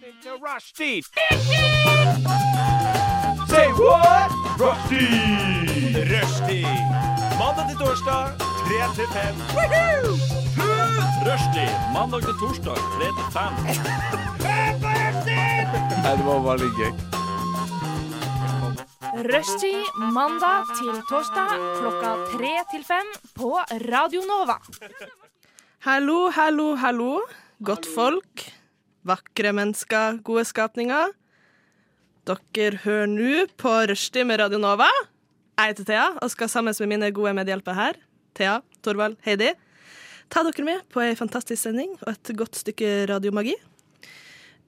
to Rushdie. Say what? Rushdie! Rushdie. Mandag til torsdag, 3 til 5. Rushdie. Mandag til torsdag, 3 til 5. Rushtid mandag til torsdag klokka tre til fem på Radio Nova. Hallo, hallo, hallo. Godt folk. Vakre mennesker, gode skapninger. Dere hører nå på Rushdie med Radio Nova. Jeg heter Thea og skal sammen med mine gode medhjelpere her, Thea, Torvald, Heidi, ta dere med på ei fantastisk sending og et godt stykke radiomagi.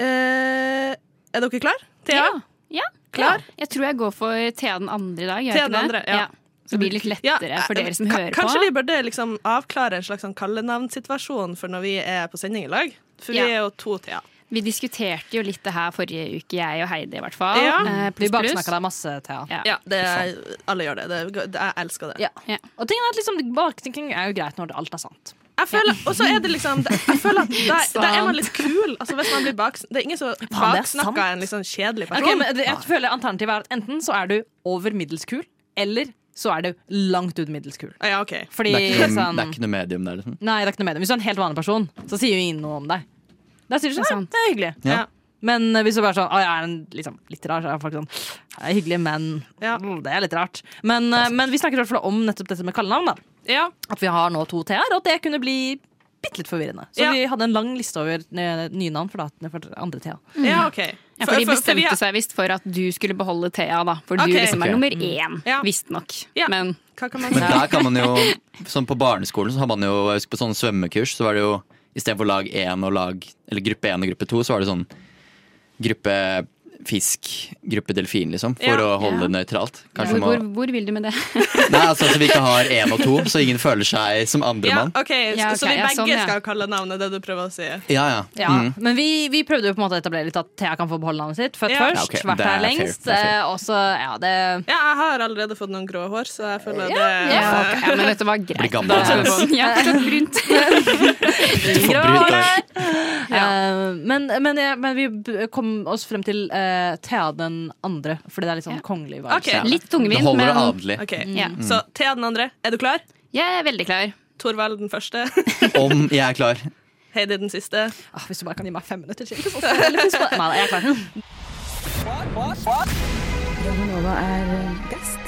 Eh, er dere klar? Thea? Ja. Klar? Ja. Jeg tror jeg går for Thea den andre i dag. gjør Thea jeg ikke den andre, det? ja. Så det blir litt lettere for eh, dere som ka- hører Kanskje på. vi burde liksom avklare en slags sånn kallenavnsituasjon for når vi er på sending i lag. For Ja. vi er jo to Thea. Vi diskuterte jo litt det her forrige uke, jeg og Heidi i hvert fall. Ja. Eh, Vi pluss, pluss. baksnakka deg masse, Thea. Ja. Ja, det er, alle gjør det. det, er- det jeg elsker det. Ja. Og tingen er at liksom, baktenking er jo greit når det- alt er sant. Jeg føler, og så er det liksom det- Jeg føler at da, da er man litt kul. Altså hvis man blir bak, det er ingen som sant. baksnakker en liksom kjedelig person. Ok, men det- jeg føler Alternativet er at enten så er du over middels kul, eller så er du langt ut middels kul. Ah, ja, ok. Fordi Det er ikke noe, sånn, det er ikke noe medium der, liksom. Nei, det er ikke noe med det. Hvis du er en helt vanlig person, så sier jo ingen noe om deg. Da sier du Det er sånn, sant. det, det er hyggelig. Ja. Ja. Men eh, hvis du bare sånn, å, jeg er en, liksom, litt rar, så er folk sånn, jeg er hyggelig, men Ja. mm, det er litt rart. Men, eh, men vi snakker i hvert fall om nettopp dette med kallenavn, da. Ja. At vi har nå to T-er, og at det kunne bli bitte litt forvirrende. Så Ja. vi hadde en lang liste over eh, nye navn for, da, for andre T-er. Mm. ja, OK. Ja, for de vi- bestemte seg visst for at du skulle beholde Thea, da. For Ok. du liksom Ok. Mm. er nummer én, Ja. visstnok. Ja. Men Hva kan man Men si? der kan man jo Sånn på barneskolen så har man jo jeg husker På sånne svømmekurs så var det jo Istedenfor lag 1 og lag Eller gruppe 1 og gruppe 2 Så var det sånn Gruppe fisk Gruppe delfin liksom For Ja. å holde Ja. det nøytralt hvor, Kanskje man hvor, hvor vil du med det? må Nei altså så vi ikke har 1 og 2 Så ingen føler seg som andre Ja, mann OK, Ja, så ok, vi ja, begge sånn, ja. skal kalle navnet det du prøver å si. Ja ja, Ja, Mm. men vi, vi prøvde jo på en måte å etablere litt at Thea kan få beholde navnet sitt. Født Ja. først, Ja, ok. vært Det er her fair, lengst. det er fair. eh, Og så, ja, det Ja, jeg har allerede fått noen grå hår, så jeg føler det Ja, ok. ja, men dette var Blir greit. gammel. Da kjører vi på den. Ja, fortsatt brunt. Får brutt hår. Eh, men, men, jeg, men vi b- kom oss frem til eh, Thea den andre, fordi det er litt sånn Ja. kongelig Ok. varelse. Ja. Litt tungvint, Det holder men det adelig OK. Ja. Så Thea den andre, er du klar? jeg er veldig klar. Torvald den første. Om jeg er klar Heidi den siste. Ah, hvis du bare kan gi meg fem minutter til. så skal jeg veldig pris på det. Nei, da, jeg er klar. Nova er best.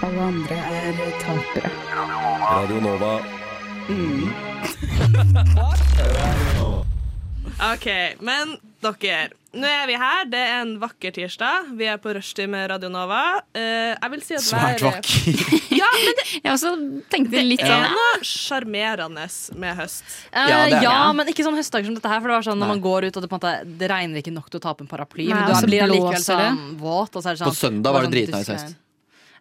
Alle andre er tapere. Radio Nova. OK, men dere. Nå er vi her. Det er en vakker tirsdag. Vi er på rushtid med Radio Nova. Eh, jeg vil si at Svært været- vakker Ja, men Jeg også tenkte litt Det er sånn. noe sjarmerende med høst. Eh, Ja, det ja, er- ja. men ikke sånn høstdager som dette her. For det var sånn når Nei. man går ut, og det, på en måte, det regner ikke nok til å ta på en paraply. Nei, men og du så blir allikevel blåser sånn våt. Og så er det sånn, På søndag var det bare sånn dritnice tysk høst.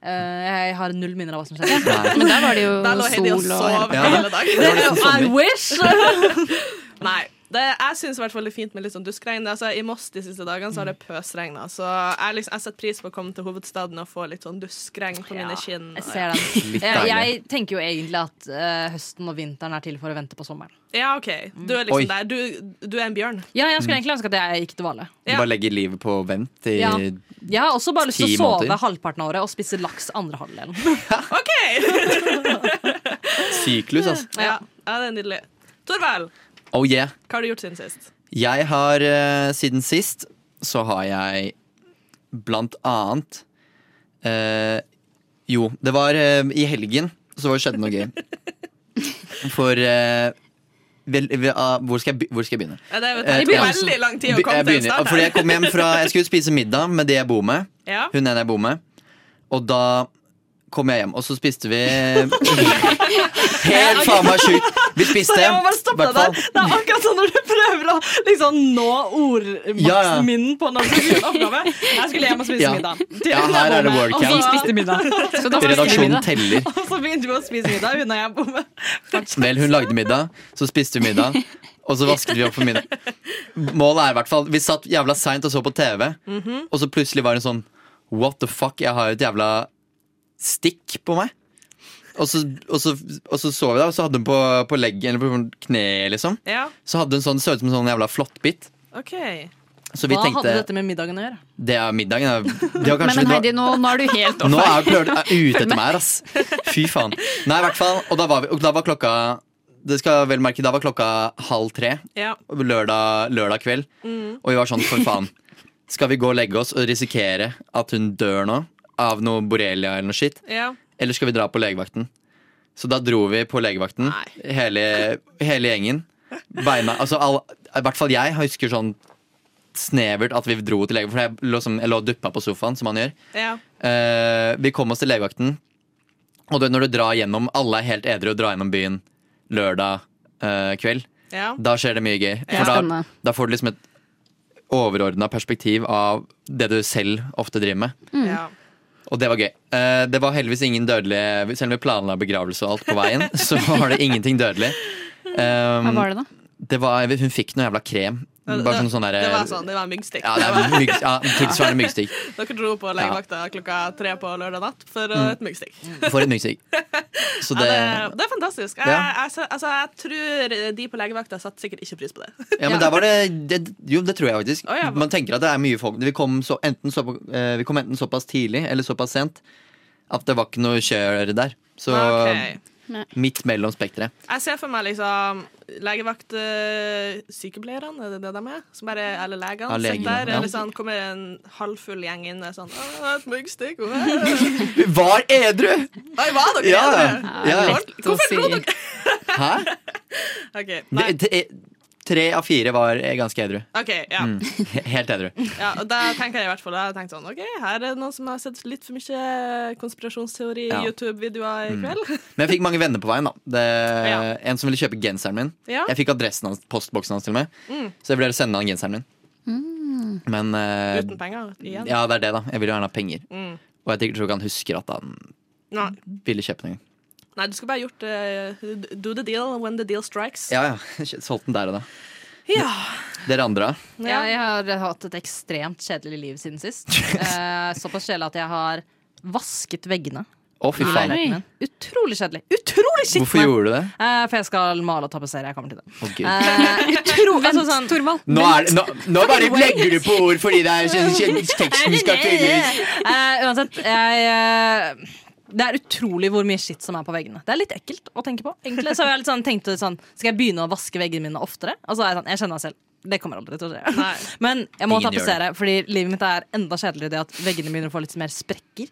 regn. Eh, jeg har null minner av hva som skjedde. Nei. Men der var det jo Der lå Heidi og sol og sov Ja. hele Det dagen. var liksom sånn nesten I sommer wish! Nei. Det, jeg syns det er fint med litt sånn duskregn. Altså, I Moss de siste dagene så har det pøsregna. Så jeg, liksom, jeg setter pris på å komme til hovedstaden og få litt sånn duskregn på mine kinn. Jeg ser den. Litt Jeg, deilig jeg tenker jo egentlig at eh, høsten og vinteren er til for å vente på sommeren. Ja, OK. Du er Oi. liksom der. Du, du er en bjørn. Ja, jeg skulle egentlig ønske at jeg gikk til Hvale. Du bare legger livet på vent Mm. i Ja. Jeg har også bare lyst til Ti å sove måneder. halvparten av året og spise laks andre halvdelen. OK! syklus altså Ja, ja det er nydelig. Torvald, Oh yeah hva har du gjort siden sist? Jeg har eh, siden sist så har jeg blant annet eh, Jo, det var eh, i helgen så var det skjedde noe gøy. For eh, vel, vel, ah, hvor, skal jeg, be- hvor skal jeg begynne? Ja, det Eh, er jo Thea. veldig lang tid å Be- komme til jeg en begynner, start fordi jeg her. kom hjem fra Jeg skulle spise middag med de jeg bor med. Ja. Hun ene jeg bor med. Og da kom jeg hjem, og så spiste vi Helt faen meg sjukt! Vi spiste Jeg må bare stoppe deg hvertfall- der. Det er akkurat sånn når du prøver å liksom, nå Ja, ja. ordmaksen min på når du skal gjøre en oppgave. Jeg skulle hjem og spise Ja. middag. Ja, her er det Og workout. vi spiste middag. Så da var det Redaksjonen teller. Og så begynte vi å spise middag, hun og jeg bor med. Vel, hun lagde middag, så spiste vi middag, og så vasket vi opp for middag. Målet er i hvert fall Vi satt jævla seint og så på TV, Mhm. og så plutselig var det sånn What the fuck, jeg har jo et jævla stikk på meg. Og så, og så, og så så vi det, og så hadde hun på, på leggen eller på kneet, liksom. ja, Så hadde hun sånn, så ut som en sånn jævla flåttbitt. OK. Så vi Hva hadde tenkte dette med middagen å gjøre? Det er middagen. er- Det var kanskje Men litt Heidi, nå, nå er du helt Nå off. er jeg klart- jeg er ute etter meg her, ass. Fy faen. Nei, i hvert fall. Og da var, vi, og da var klokka Det skal jeg vel merke, da var klokka halv tre Ja. lørdag, lørdag kveld. Og vi var sånn, for faen. Skal vi gå og legge oss og risikere at hun dør nå? Av noe borrelia eller noe shit? ja. Eller skal vi dra på legevakten? Så da dro vi på legevakten, Nei. hele, hele gjengen. Beina, altså all, I hvert fall jeg husker sånn snevert at vi dro til legevakten. For jeg lå, som, jeg lå og duppa på sofaen, som man gjør. ja. Eh, vi kom oss til legevakten, og det, når du drar gjennom Alle er helt edru og drar gjennom byen lørdag eh, kveld. ja. Da skjer det mye gøy. Ja. For da, Spennende. da får du liksom et overordna perspektiv av det du selv ofte driver med. ja. Mm. Og det var gøy. Eh, det var heldigvis ingen dødelige Selv om vi planla begravelse og alt på veien, så var det ingenting dødelig. Um, Hva var det, da? det var, hun fikk noe jævla krem. Bare sånn sånn derre Det var sånn, det var myggstikk. Ja, det er mygg, ja, tilsvarende myggstikk. Dere dro på legevakta klokka tre på lørdag natt for uh, et myggstikk. For et myggstikk. Så Ja, det, Mm. det det er fantastisk. Jeg, Ja. jeg, altså, jeg tror de på legevakta satte sikkert ikke pris på det. Ja, men der var det, det Jo, det tror jeg faktisk. Å, ja. Man tenker at det er mye folk. Vi kom, så, enten så, eh, vi kom enten såpass tidlig eller såpass sent at det var ikke noe kjør der. Så Ah, Ok. midt mellom spekteret. Jeg ser for meg liksom legevaktsykepleierne, er det det de er? Som bare, eller legene, Ja, legene, sitter der. ja. Eller sånn, kommer en halvfull gjeng inn og er sånn Å, et oh, myggstikk! Oi, Vi var edru! var dere Ja, edru? ja. Lett å si. Hæ? OK. Nei. Det, det, tre av fire var eh, ganske edru. ok, ja. He- Helt edru. ja. Og da tenker jeg i hvert fall da har jeg tenkt sånn OK, her er det noen som har sett litt for mye Ja. Mm. konspirasjonsteori-YouTube-videoer i kveld. Men jeg fikk mange venner på veien. da det, Ja. En som ville kjøpe genseren min. Ja. Mm. Jeg fikk adressen hans, postboksen hans til og med. Så jeg ville sende han genseren min. Men eh, Uten penger igjen. ja, det er det, da. Jeg vil jo gjerne ha penger. Mm. Og jeg tror ikke han husker at han Nei. ville kjøpe den. Nei, du skulle bare gjort eh, Do the deal when the deal strikes. Ja, ja. Solgte den der og da. Ja. Dere andre? Ja, jeg har hatt et ekstremt kjedelig liv siden sist. Eh, såpass kjedelig at jeg har vasket veggene Å, fy i faen. leiligheten min. Utrolig kjedelig. Utrolig skitt! Eh, Hvorfor gjorde du det? for jeg skal male og tapetsere. Jeg kommer til det. Å, Gud. Eh, utro, altså sånn, nå, er det, nå, nå bare legger du på ord fordi det er kjen- kjen- teksten skal fylles. Eh, uansett, jeg eh, Det er utrolig hvor mye skitt som er på veggene. Det er litt ekkelt å tenke på. egentlig Så jeg litt sånn, tenkte sånn Skal jeg begynne å vaske veggene mine oftere? Og så er jeg sånn, jeg kjenner meg selv. Det kommer aldri til å skje. Nei. Men jeg må Ingen gjør tapetsere, fordi livet mitt er enda kjedeligere i det at veggene begynner å få litt mer sprekker.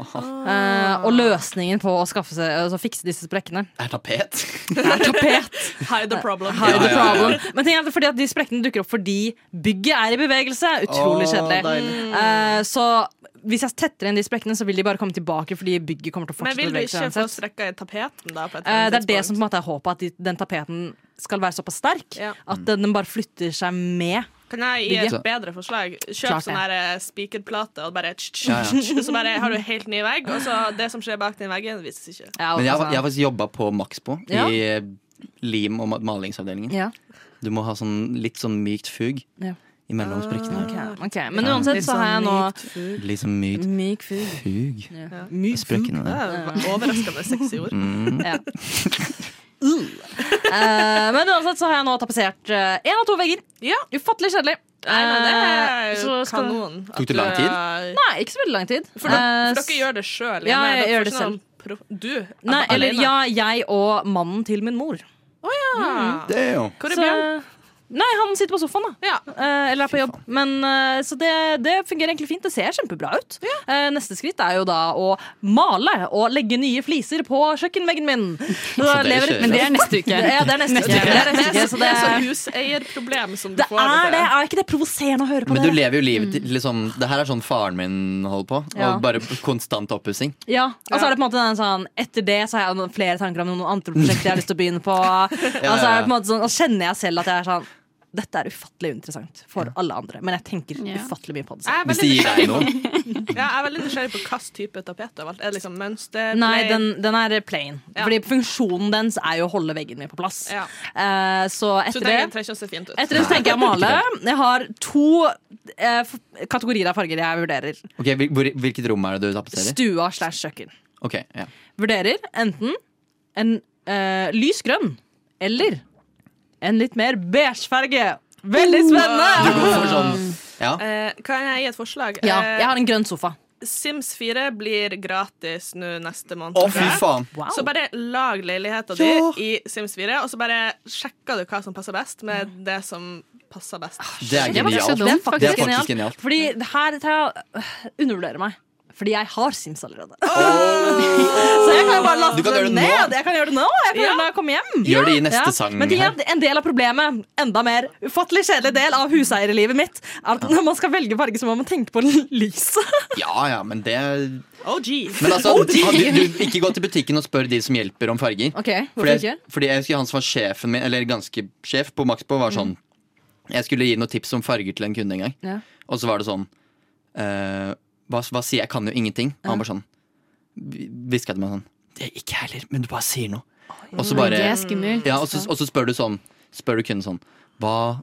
Eh, og løsningen på å skaffe seg, altså, fikse disse sprekkene Er tapet? er tapet. Hide the problem. Hide the Ja, ja, ja. problem. Men ting er at- fordi at de sprekkene dukker opp fordi bygget er i bevegelse. Utrolig Å, kjedelig. deilig. Mm. Eh, så hvis jeg tetter igjen de sprekkene, så vil de bare komme tilbake fordi bygget kommer til å Men fortsette vil å du bevege seg ikke få uansett. strekka i tapeten, da? På et Eh, eller det annet er det som tidspunkt? på en måte er håpet, at de, den tapeten skal være såpass sterk Ja. at den den bare flytter seg med. Kan jeg gi et Bygge. bedre forslag? Kjøp Klart det. sånn her eh, spikerplate og bare tsk, Ja, tsk, tsk, Så bare har du helt ny vegg, og så det som skjer bak den veggen, vises ikke. Ja, Men jeg, altså- har- jeg har faktisk jobba på Maxbo Ja. i eh, lim- og ma- malingsavdelingen. ja. Du må ha sånn, litt sånn mykt fug Ja. imellom sprekkene. Ah, ok, ok. Men uansett så har jeg nå Litt sånn mykt myk fugl. fug i Myk sprekkene Det der. er Overraskende sexy ord. Ja. Uh. Eh, men uansett så har jeg nå tapetsert én av to vegger. Ufattelig kjedelig. Nei, men det Eh, er jo så skal- kanon. at Tok det du lang tid? er- Nei, ikke så veldig lang tid. For, dere- Eh, for dere gjør det sjøl? Ja, jeg gjør det selv. sånn Du? Nei, alene? eller ja, jeg og mannen til min mor. Ja. Mm. Det er jo Hvor er Så, Bjørn? nei, han sitter på sofaen, da. Ja. Eh, eller er på jobb. Men, eh, så det, det fungerer egentlig fint. Det ser kjempebra ut. Eh, neste skritt er jo da å male og legge nye fliser på kjøkkenveggen min. Så det lever- skjer. men det er neste uke. ja, det er neste uke. Det er, neste uke, så Det det, er sånn huseierproblem som du det, får av er og det. til. Er ikke det provoserende å høre på Men du det? lever jo livet til liksom, Det her er sånn faren min holder på. Ja. Og bare konstant oppussing. Ja, og så er det på en måte den sånn Etter det så har jeg flere tanker om noen andre prosjekter jeg har lyst til å begynne på. Og så er det på en måte sånn, og kjenner jeg selv at jeg er sånn Dette er ufattelig interessant for alle andre, men jeg tenker Ja. ufattelig mye på det selv. Jeg er Hvis veldig de gir deg noe. Ja, jeg er veldig nysgjerrig på hvilken type tapet og alt. Er det liksom mønster? Nei, plain? den, den er plain. Ja. Fordi funksjonen dens er jo å holde veggen min på plass. Ja. Eh, så Så etter det trenger den trenger å se fint ut. Etter det så tenker jeg å male. Jeg har to eh, f- kategorier av farger jeg vurderer. Ok, hvil- hvor- Hvilket rom er det du tapetserer? Stua slash kjøkken. Ok, ja. Vurderer enten en eh, lys grønn eller en litt mer beige farge. Veldig Uh. spennende! Du får sånn Ja. Eh, kan jeg gi et forslag? Ja, Eh, jeg har en grønn sofa. Sims 4 blir gratis nå neste måned. Å, fy faen. Så bare lag leiligheta di Ja. i Sims 4, og så bare sjekker du hva som passer best, med det som passer best. Ah, Det er Det var ikke så genialt. dumt, Det er faktisk. faktisk genialt. Fordi det her tar jeg øh, undervurderer meg. Fordi jeg har Sims allerede. Så jeg kan jo bare Du laste kan gjøre det det nå. ned. Jeg kan gjøre det nå. Jeg kan gjøre det når jeg kommer hjem. Gjør det i neste sang Men det her. er en del av problemet, enda mer ufattelig kjedelig del av huseierlivet mitt, er at når man skal velge farge, så må man tenke på lyset. Ja, ja, men det Oh, gee. Men altså, han- du, du, ikke gå til butikken og spør de som hjelper om farger. Ok, hvorfor Fordi, ikke? jeg- fordi jeg husker han som var sjefen min, eller ganske sjef på Maxbo, var sånn Jeg skulle gi noen tips om farger til en kunde en gang, Ja. og så var det sånn eh, hva, hva sier jeg? Jeg kan jo ingenting. Og han bare sånn hviska til meg sånn Det er ikke jeg heller, men du bare sier noe. Og så Det bare er skummelt. ja, og, så, og så spør du sånn Spør du kunden sånn hva,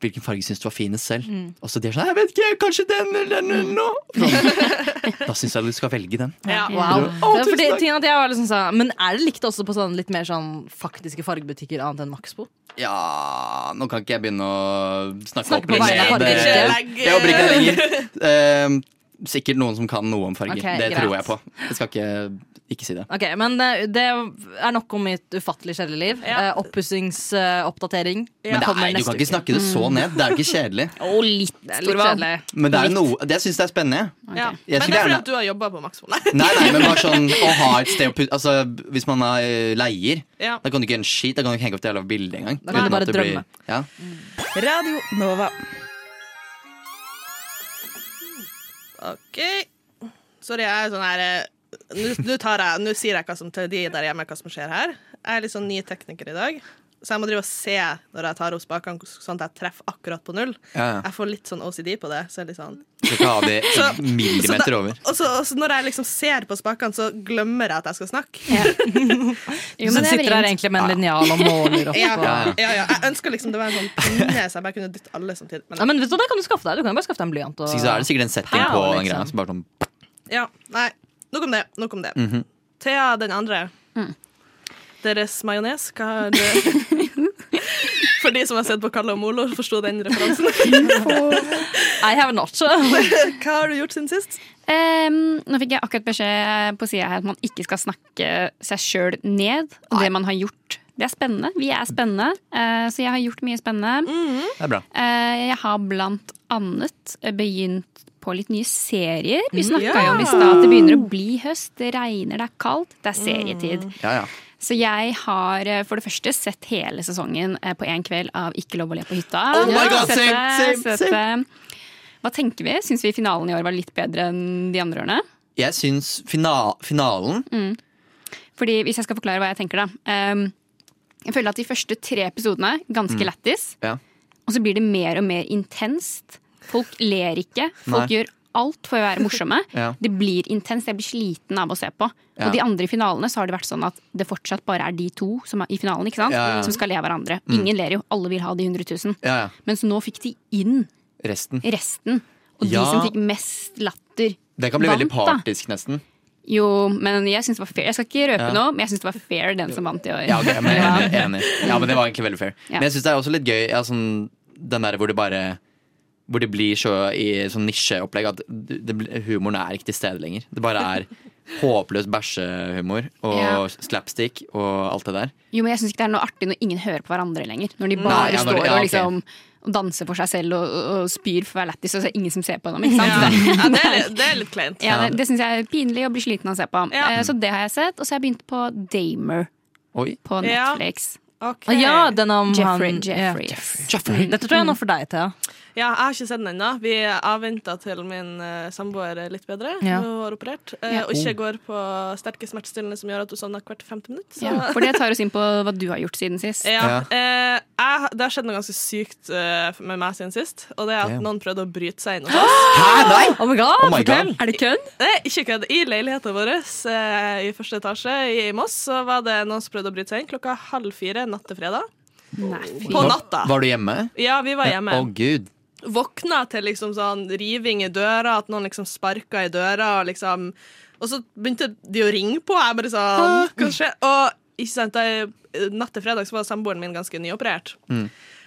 Hvilken farge syns du var finest selv? Og så de er sånn Jeg vet ikke, kanskje den eller den eller noe. Sånn. Da syns jeg du skal velge den. Ja. Wow. Å, Det var tusen fordi, takk. tingen at jeg var liksom sånn, men er det likt også på sånn litt mer sånn faktiske fargebutikker annet enn Maxbo? Ja Nå kan ikke jeg begynne å snakke, Snakke opp på vegne av ned, farger. eh, Legg- Jeg jobber ikke lenger. Ehm, sikkert noen som kan noe om farger. Ok, det greit. tror jeg på. Jeg skal ikke, ikke si det. Ok, men eh, det er nok om mitt ufattelig kjedelige liv. Ja. Eh, Oppussingsoppdatering. Men det er, du kan ikke snakke det så ned. Det er jo ikke kjedelig. Å, litt, Litt Torvald. kjedelig. Men det er jo noe, det syns jeg er spennende. Ja. Jeg Men skulle det er fordi gjerne- at du har jobba på Maxbo. Nei, nei, men bare sånn å ha et sted å putte Altså, hvis man er eh, leier, Ja. da kan du ikke gjøre en skit. Da kan du ikke henge opp det jævla bildet engang. Da kan du Uten at bare det blir- drømme. Ja. Radio Nova. OK. Sorry, jeg er sånn her eh, Nå nå tar jeg- nå sier jeg hva som til de der hjemme hva som skjer her. Jeg er litt sånn ny tekniker i dag, så jeg må drive og se når jeg tar opp spakene, sånn at jeg treffer akkurat på null. Ja, ja. Jeg får litt sånn OCD på det. Så jeg er litt sånn Du skal ikke ha det Så- så millimeter da- over. Og så, og så når jeg liksom ser på spakene, så glemmer jeg at jeg skal snakke. Jo, Så men du det er sitter her vrient. egentlig med en linjal og måler opp. Ja, og- ja. ja, ja. Jeg ønsker liksom det var en sånn pinne, så jeg bare kunne dytte alle samtidig. Ja, Men men vet du, hva, det kan du skaffe deg. Du kan jo bare skaffe deg en blyant. Og... Så er det sikkert en setting Ja, på den liksom. greia. som bare sånn ja, nei. Nok om det. Nok om det. Thea den andre. Deres majones, hva har du For de som har sett på Kalle og Molo, forsto den referansen. I have not. så- Hva har du gjort siden sist? Em, nå fikk jeg akkurat beskjed eh, på sida her at man ikke skal snakke seg sjøl ned. Og det man har gjort. Det er spennende. Vi er spennende. eh, så jeg har gjort mye spennende. Det er bra. Eh, jeg har blant annet begynt på litt nye serier. Vi Mm, snakka ja. jo om i stad at det begynner å bli høst. Det regner, det er kaldt. Det er serietid. Ja, ja. Så jeg har eh, for det første sett hele sesongen eh, på én kveld av Ikke lov å le på hytta. Oh my God, Sett det, same, same, sett det. Hva tenker vi? Syns vi finalen i år var litt bedre enn de andre årene? Jeg syns fina finalen Fordi Hvis jeg skal forklare hva jeg tenker, da. ehm, jeg føler at de første tre episodene ganske Mm. lættis. Ja. Og så blir det mer og mer intenst. Folk ler ikke. Folk Nei. gjør alt for å være morsomme. Ja. Det blir intenst. Jeg blir sliten av å se på. Ja. Og de andre i finalene så har det vært sånn at det fortsatt bare er de to som er i finalen ikke sant? Ja, ja. som skal le av hverandre. Ingen ler jo. Alle vil ha de 100 000. Ja, ja. Men så nå fikk de inn Resten. resten. Og Ja. de som fikk mest latter, Det kan bli veldig vant, da. partisk, nesten. Jo, men jeg synes det var fair. Jeg skal ikke røpe Ja. noe, men jeg syns det var fair, den som vant i år. Ja, ok, men, jeg er enig, enig. ja, men det var egentlig veldig fair. Ja. Men jeg syns det er også litt gøy ja, sånn, den der hvor det bare Hvor det blir så i sånn nisjeopplegg at det, blir- humoren er ikke til stede lenger. Det bare er håpløs bæsjehumor og Ja. slapstick og alt det der. Jo, men jeg syns ikke det er noe artig når ingen hører på hverandre lenger. Når de bare Nei, ja, når- står ja, ok. og liksom og danser for seg selv og, og- og spyr for å være lættis, og så er det ingen som ser på dem. ikke sant? Ja, Det, ja det, er, litt- det er litt kleint. ja, det, det syns jeg er pinlig å bli sliten av å se på. Ja. Eh, Så det har jeg sett. Og så har jeg begynt på Damer Oi. på Ja. Netflix. Ok. Ja, den om Jeffrey. Mm, han Jeffrey. Ja. Dette tror jeg er noe for deg, Thea. Ja, jeg har ikke sett den ennå. Vi avventa til min eh, samboer er litt bedre. Ja. Hun har operert. eh, Og ikke går på sterke smertestillende som gjør at hun sovner hvert femte minutt. Så. Ja, for det tar oss inn på hva du har gjort siden sist. Ja. eh, jeg, det har skjedd noe ganske sykt eh, med meg siden sist. Og det er at Damn. noen prøvde å bryte seg inn hos oss. Hæ, nei! Oh my god, Oh my fortell. God. Er det kødd? Nei, ikke kødd. I leiligheten vår eh, i første etasje i Moss så var det noen som prøvde å bryte seg inn klokka halv fire natt til fredag. Nei, fy. På natta. Var du hjemme? Ja, vi var hjemme. Å, gud. våkna til liksom sånn riving i døra, at noen liksom sparka i døra, og liksom Og så begynte de å ringe på, og jeg bare sånn Hva skjer? Og ikke sant, da jeg, natt til fredag så var samboeren min ganske nyoperert.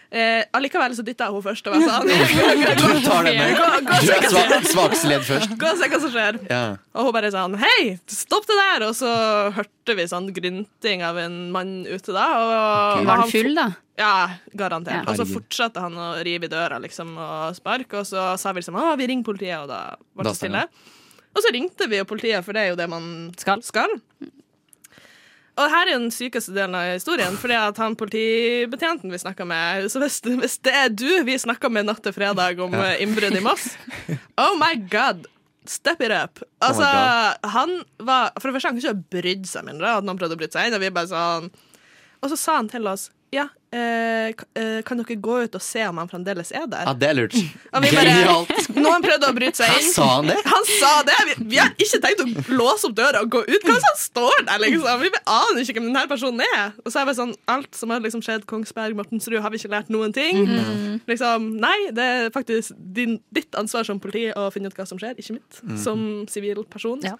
Eh, allikevel så dytta jeg henne først og var sånn Du tar den med. Gå, gå, og Du se er hva som- svak, svakeste ledd først. gå og se hva som skjer. Ja. Og hun bare sånn Hei, stopp det der! Og så hørte vi sånn grynting av en mann ute da. Og, og Var han den full, da? Ja, garantert. Ja. Og så Herregud. fortsatte han å rive i døra liksom, og sparke, og så sa vi liksom «Å, vi ringer politiet, og da ble Da det stille. Og så ringte vi jo politiet, for det er jo det man Skal. Og her er jo den sykeste delen av historien, fordi at han politibetjenten vi snakka med Så hvis, hvis det er du vi snakka med natt til fredag om eh, innbrudd i Moss Oh my god! Step it up. Altså, han var For det første, han kunne ikke ha brydd seg mindre at noen prøvde å bryte seg inn, og vi bare sånn og så sa han til oss ja, eh, k- eh, kan dere gå ut og se om han fremdeles er der? Ja, det er lurt. Og vi Genialt. bare, Noen prøvde å bryte seg inn. Sa han det? Han sa det! Vi, vi har ikke tenkt å låse opp døra og gå ut. Hva hvis han står der? liksom? Vi aner ikke hvem denne personen er. Og så er det bare sånn, Alt som har liksom skjedd Kongsberg, Mortensrud, har vi ikke lært noen ting. Mhm. Liksom, Nei, det er faktisk din, ditt ansvar som politi å finne ut hva som skjer, ikke mitt. Mhm. Som sivil person. Ja.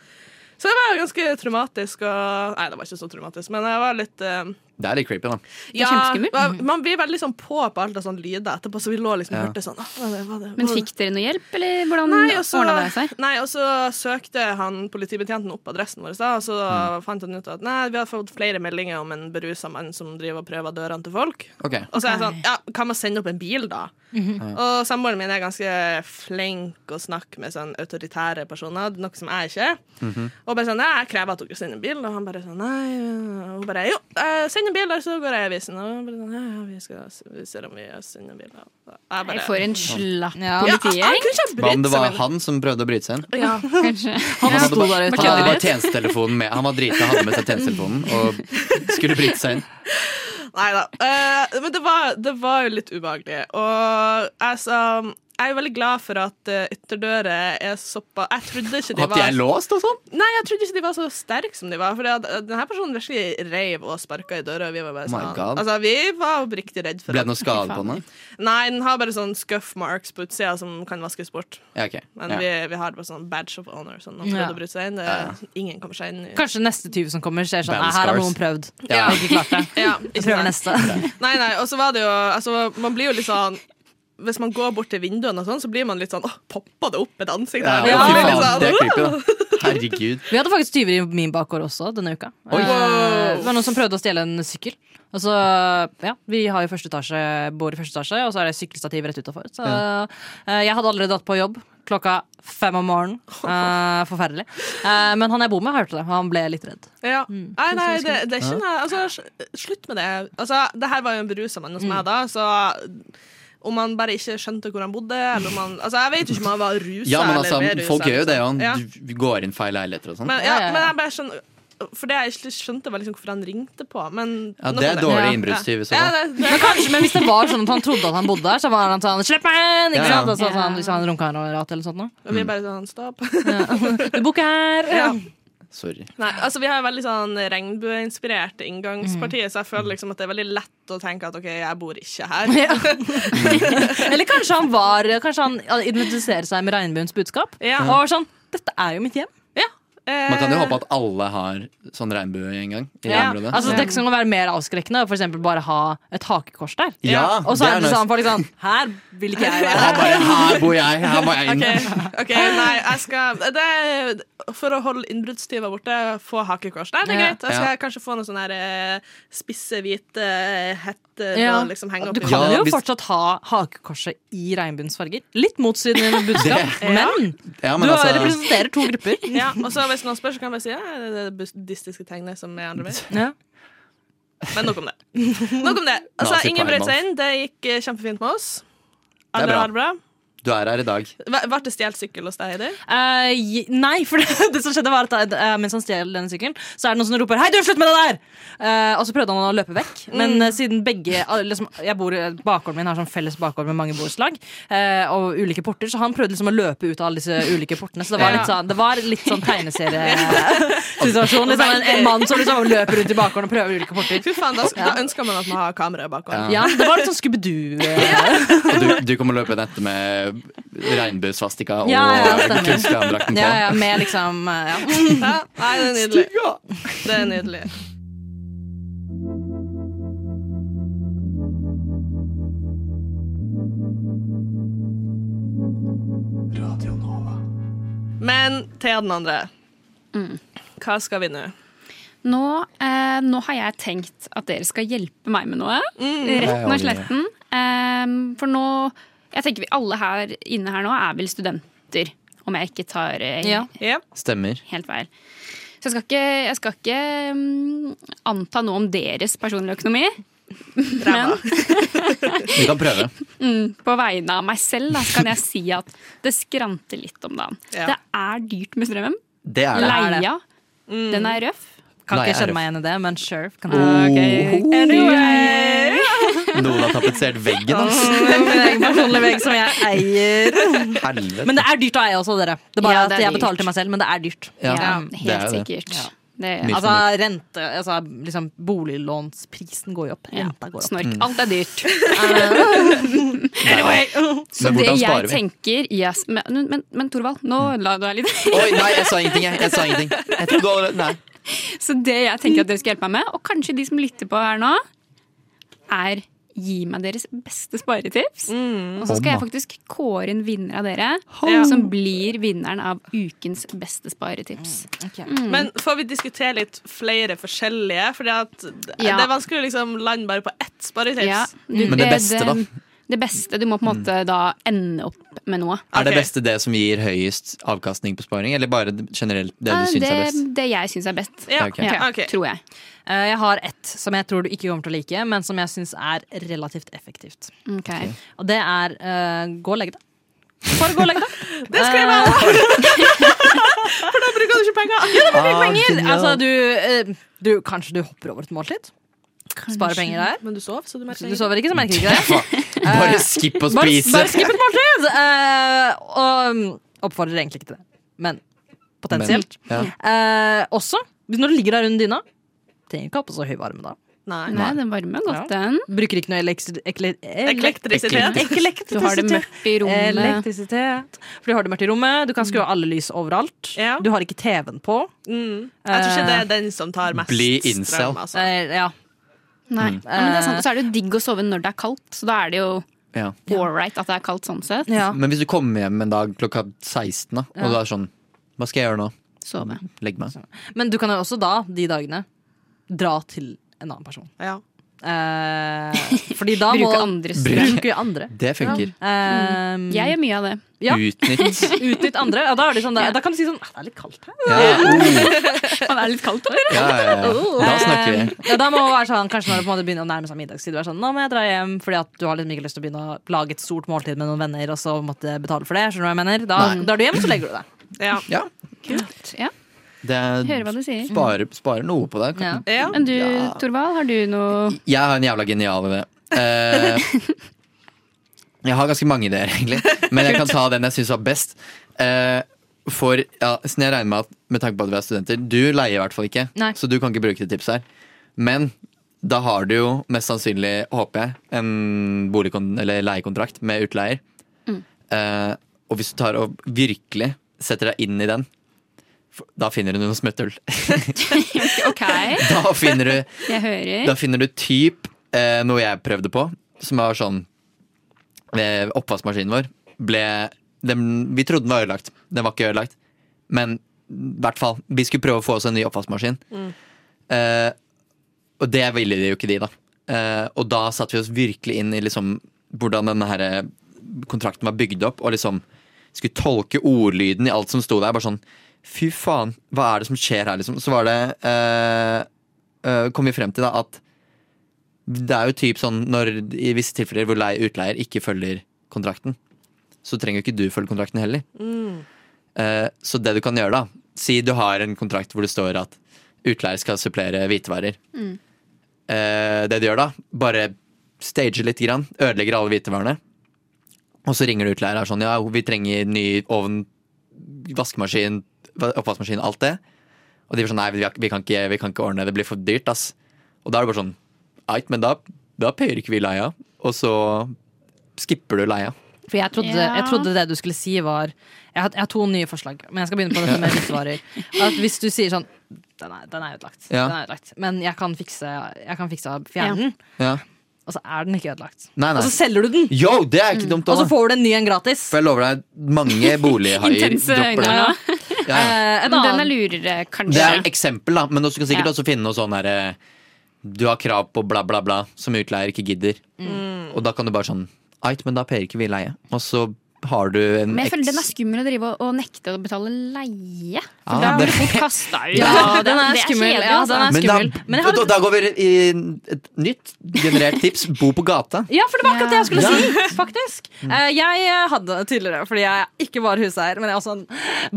Så det var ganske traumatisk. Og, nei, det var ikke så traumatisk, men jeg var litt eh, Det er litt creepy, da. er kjempeskummelt. Mhm. man- Man blir veldig sånn på på alt av sånn lyder etterpå, så vi lå liksom og Ja. hørte sånn «Åh, hva er det, hva er det, hva Men er det?» fikk dere noe hjelp, eller hvordan Nei, altså- og så- ordna det seg? Nei, og så søkte han politibetjenten opp adressen vår, da, og Mm. så fant han ut at nei, vi har fått flere meldinger om en berusa mann som driver og prøver dørene til folk. Ok. Og så er jeg sånn, ja, kan man sende opp en bil, da? Og samboeren min er ganske flink å snakke med sånn autoritære personer, noe som jeg ikke er. Mhm. Og bare sånn, nei, jeg krever at dere sender en bil, og han bare sånn, nei. øh, Og hun bare, jo, eh, send en bil, der, så går jeg i avisen. Og han bare sånn, ja, ja, vi skal se- vi ser om vi sender en bil. da. Og Jeg Jeg bare, får en slapp Ja. ja, jeg kunne ikke politigjeng, ha Hva om brydd det seg var mindre. han som prøvde å bryte seg inn? Ja. kanskje. Han hadde sto bare, der ute. han hadde bare Markedet. tjenestetelefonen med. Han var drita, hadde med seg tjenestetelefonen og skulle bryte seg inn. Nei da. Eh, men det var, det var jo litt ubehagelig. Og altså, jeg er jo veldig glad for at eh, ytterdører er såpass Jeg trodde ikke de At de var er låst og sånn? Nei, jeg trodde ikke de var så sterke som de var. For denne personen virkelig reiv og sparka i døra. Og vi var bare Oh my sånn God. Altså, vi var oppriktig redd for Ble at det noe skade på henne? Nei, den har bare sånn scuff marks på utsida som kan vaskes bort. Ja, ok. Men Ja. vi, vi har bare sånn badge of honor. Sånn, noen Ja. prøvde å bryte seg inn. Det, ingen kommer seg inn. i- Kanskje neste tyv som kommer, ser sånn Battle Nei, her har scars. noen prøvd. Ja. Ikke klart det. Ja, Jeg ikke sant? prøver neste. Nei, nei, og så var det jo altså, Man blir jo litt sånn Hvis man går bort til vinduene og sånn, så blir man litt sånn Åh, poppa det opp et ansikt Ja, her? fy Man blir litt faen, sånn, det er creepy, da. Herregud. Vi hadde faktisk tyver i min bakgård også denne uka. Oi. Eh, Det var noen som prøvde å stjele en sykkel. Og så, ja, Vi har jo første etasje, bor i første etasje, og så er det sykkelstativ rett utafor. Så eh, jeg hadde allerede dratt på jobb klokka fem om morgenen. Eh, forferdelig. Eh, men han jeg bor med, hørte det, og han ble litt redd. Ja. Nei, nei, Mm. det, det er ikke noe Altså, sl- slutt med det. Altså, det her var jo en berusa mann hos meg da, så om han bare ikke skjønte hvor han bodde, eller om han Altså, jeg vet jo ikke om han var rusa Ja, men altså, eller berusa. folk gjør jo det, liksom. og Ja. han du går inn feil leiligheter og sånn. Men, ja, Ja, ja, ja. men jeg bare skjønner For det jeg ikke skjønte, var liksom hvorfor han ringte på. Men Ja, nok det om er dårlig Ja. innbruddstyv i så Ja, fall. det, det, Men kanskje, men hvis det var sånn at han trodde at han bodde der, så var han sånn 'slipp meg inn!' Ikke Ja. sant? Og så, Ja. sånn, hvis han romkamerat eller sånt noe. og vi bare sånn Stopp. Du bor ikke her! Ja. Sorry. Nei, altså Vi har veldig sånn regnbueinspirert inngangsparti, så jeg føler liksom at det er veldig lett å tenke at OK, jeg bor ikke her. Ja. Eller kanskje han var Kanskje han identifiserer seg med regnbuens budskap. Ja. Og var sånn Dette er jo mitt hjem. Man Eh, kan jo håpe at alle har sånn regnbue en gang. I det Ja, området. Altså Det kan være mer avskrekkende å for eksempel bare ha et hakekors der. ja, Og så det er det nice. sånn folk sånn Her vil ikke jeg være. Han bare, her bor jeg, her må jeg inn. OK, nei, jeg skal det er, For å holde innbruddstyver borte, få hakekors. Nei, det er Ja. greit. Jeg skal Ja. kanskje få noen sånne her, eh, spisse, hvite hetter Ja. og liksom henge opp Du i. kan Ja, jo hvis- fortsatt ha hakekorset i regnbuens farger. Litt motstridende budskap, Det- men, Ja, du men har- altså, representerer to grupper. Ja, og så Hvis noen spør, så kan jeg bare si ja, det er det buddhistiske tegnet som er andre vei. Ja. Men nok om det. Nok om det. Altså, Nazi ingen brøt Primal. seg inn. Det gikk eh, kjempefint med oss. er Alle bra. har det bra. du er her i dag. Hva- Ble det stjålet sykkel hos deg, Heidi? Eh, je- nei, for det, det som skjedde var at eh, mens han stjal denne sykkelen, så er det noen som roper 'Hei, du, slutt med det der!' Eh, og så prøvde han å løpe vekk. Men eh, siden begge al- liksom, jeg bor, Bakgården min har sånn felles bakgård med mange borettslag eh, og ulike porter, så han prøvde liksom å løpe ut av alle disse ulike portene. Så det var Ja. litt sånn, det var litt sånn tegneseriesituasjon. Liksom, en, en mann som liksom løper rundt i bakgården og prøver ulike porter. Fy faen, da, da ønsker man at man har kamera bak hånden. Ja, Det var litt sånn Scooby-Doo. eh, Og du, du kommer løpende etter med regnbuesvastika og Ja, ja, stemmer. kunstgramdrakten på. ja, ja, med liksom eh, ja. Ja. Nei, det er nydelig. Det er nydelig. Men til den andre. Mm. Hva skal vi nå? Nå, eh, nå har jeg tenkt at dere skal hjelpe meg med noe. Retten og sletten. Eh, for nå Jeg tenker vi alle her inne her nå er vel studenter, om jeg ikke tar eh, Ja. Ja. Stemmer. helt feil. Så jeg skal ikke, jeg skal ikke mm, anta noe om deres personlige økonomi. Men Vi kan prøve. på vegne av meg selv da, så kan jeg si at det skranter litt om dagen. Ja. Det er dyrt med strømmen. Det er det. er det. Leia, den er røff. Kan Nei, ikke RF. kjenne meg igjen i det, men sure. Kan jeg. Anyway. Noen har tapetsert veggen, ass. Det er min egen personlige vegg som jeg eier. Helvete. Men det er dyrt å eie også, dere. Det er bare Ja, at det er jeg dyrt. betaler til meg selv, men det er dyrt. Ja, Ja, det er helt jo det. sikkert. Det, Mye Altså, rente, altså liksom, Boliglånsprisen går jo opp. ja, Renta går opp. snork. Mm. Alt er dyrt. Men Det hvordan jeg sparer vi? Mm. tenker yes, Men, men, men Torvald, nå la du deg litt. Oi, nei, jeg sa ingenting, jeg. Jeg sa ingenting. Jeg trodde allerede Nei. Så det jeg tenker at dere skal hjelpe meg med, og kanskje de som lytter på her nå, er gi meg deres beste sparetips. Og så skal jeg faktisk kåre en vinner av dere, som blir vinneren av ukens beste sparetips. mm. Men får vi diskutere litt flere forskjellige? Fordi at Ja. det er vanskelig å liksom lande bare på ett sparetips. Ja, du, Men det beste, da? Mm. Det beste. Du må på en måte da ende opp med noe. Er det Ok. beste det som gir høyest avkastning på sparing, eller bare generelt det du syns er best? Ah, det jeg syns er best. Ja, Ok. Ja, ok. Tror jeg. Eh, Jeg har ett som jeg tror du ikke kommer til å like, men som jeg syns er relativt effektivt. Ok. Og det er eh, gå og legg deg. Bare gå og legg deg. Eh, Det skal jeg være! For da bruker du ikke penger. Ah, Penger! genial. Altså, du, eh, du Kanskje du hopper over et måltid? Sparer penger der? Men du sov, så du merker Du sover ikke, så merker du ikke det. Bare skipp å Bare, spise. bare skip et måltid! Eh, og um, oppfordrer egentlig ikke til det, men potensielt. Men, Eh, også, hvis- når du ligger der under dyna Trenger ikke ha på så høy varme da. Nei. Nei, den varmer godt, den. Bruker ikke noe elektri- ekle- elekt- Elektrisitet. elektrisitet. Du har det mørkt i rommet. Elektrisitet. For du har det mørkt i rommet, du kan skru av alle lys overalt. Ja. Du har ikke TV-en på. Mm. Jeg tror ikke det er den som tar mest Bli incel. strøm. Altså. Eh, ja. Nei. Ja, men det er sant. Og så er det jo digg å sove når det er kaldt, så da er det jo ja. ålreit at det er kaldt sånn sett. ja. Men hvis du kommer hjem en dag klokka 16, da, og du er sånn Hva skal jeg gjøre nå? Sove. Legg meg. Men du kan jo også da, de dagene, dra til en annen person. Ja. Eh, fordi da må Bruke andres strøm. Bruke andre. Det funker. Eh, Jeg gjør mye av det. Ja. Utnytt. Utnytt andre. Ja, da, er det sånn, da, da kan du si sånn «Ah, Det er litt kaldt her. Ja. Oh. det er litt kaldt her. Ja, ja, ja. Da snakker vi. Eh, Ja, da må det være sånn, Kanskje når det på en måte begynner å nærme seg middagstid. du er Sånn, nå må jeg dra hjem fordi at du har liksom ikke lyst til å begynne å lage et stort måltid med noen venner og så måtte betale for det. Skjønner du hva jeg mener? Da Nei. drar du hjem, så legger du deg. Ja. Ja. Ja, Det hører hva er, du sier. sparer, sparer noe på det. Ja. Ja. Men du, Torvald, har du noe Jeg har en jævla genial idé. Eh, jeg har ganske mange ideer, egentlig. Men jeg kan ta den jeg syns var best. Eh, for ja, siden jeg regner med at med tanke på at vi er studenter Du leier i hvert fall ikke, Nei. så du kan ikke bruke det tipset her. Men da har du jo mest sannsynlig, håper jeg, en boligkon eller leiekontrakt med utleier. Eh, og hvis du tar og virkelig setter deg inn i den, for- da finner du noe smutthull. Ok, da finner du jeg hører. da finner du typ eh, noe jeg prøvde på, som var sånn eh, Oppvaskmaskinen vår ble den, Vi trodde den var ødelagt. Den var ikke ødelagt. Men i hvert fall. Vi skulle prøve å få oss en ny oppvaskmaskin. Eh, og det ville de jo ikke, de, da. Eh, og da satte vi oss virkelig inn i liksom hvordan denne her eh, kontrakten var bygd opp, og liksom skulle tolke ordlyden i alt som sto der. Bare sånn Fy faen, hva er det som skjer her, liksom? Så var det eh, eh, kom vi frem til da at det er jo typ sånn når, i visse tilfeller hvor lei, utleier ikke følger kontrakten, så trenger jo ikke du følge kontrakten heller. Eh, så det du kan gjøre da, si du har en kontrakt hvor det står at utleier skal supplere hvitevarer. Eh, det du gjør da, bare stager litt, grann, ødelegger alle hvitevarene, og så ringer du utleier og er sånn, ja, vi trenger ny ovn, vaskemaskin, oppvaskmaskin, alt det. Og de var sånn, nei, vi har- vi kan ikke, vi kan ikke ordne det, det blir for dyrt, ass. Og da er det bare sånn, eit, men da, da payer ikke vi leia, og så skipper du leia. For jeg trodde, Ja. jeg trodde det du skulle si, var jeg har, jeg har to nye forslag, men jeg skal begynne på dette med hvitvarer. At Hvis du sier sånn den er, den er utlagt. Ja. Den er utlagt. Men jeg kan fikse, jeg kan fikse av fjernen. Ja. og så er den ikke ødelagt. Nei, nei. Og så selger du den, Yo, det er ikke dumt, og så da. får du en ny en gratis. For jeg lover deg, mange bolighaier Intense dropper øyne det. nå. Ja, ja. Eh, en Men den er annen lurere, Det er et kanskje. eksempel, da. Men du skal sikkert Ja. også finne noe sånn herre Du har krav på bla, bla, bla, som utleier ikke gidder. Og da kan du bare sånn Ait, men da peier ikke vi leie. Og så har du en Men jeg føler eks- den er skummel å drive og, og nekte å betale leie. Ah, For da det- blir du fort kasta ut. Ja, den er Det skummel. kjedelig, altså. Ja, den er- Men da, skummel. Men jeg har- da, da går vi i et nytt generert tips. Bo på gata. Ja, for det var akkurat det jeg skulle Ja. si! Faktisk. Eh, jeg hadde tidligere, fordi jeg ikke var huseier, men jeg er også en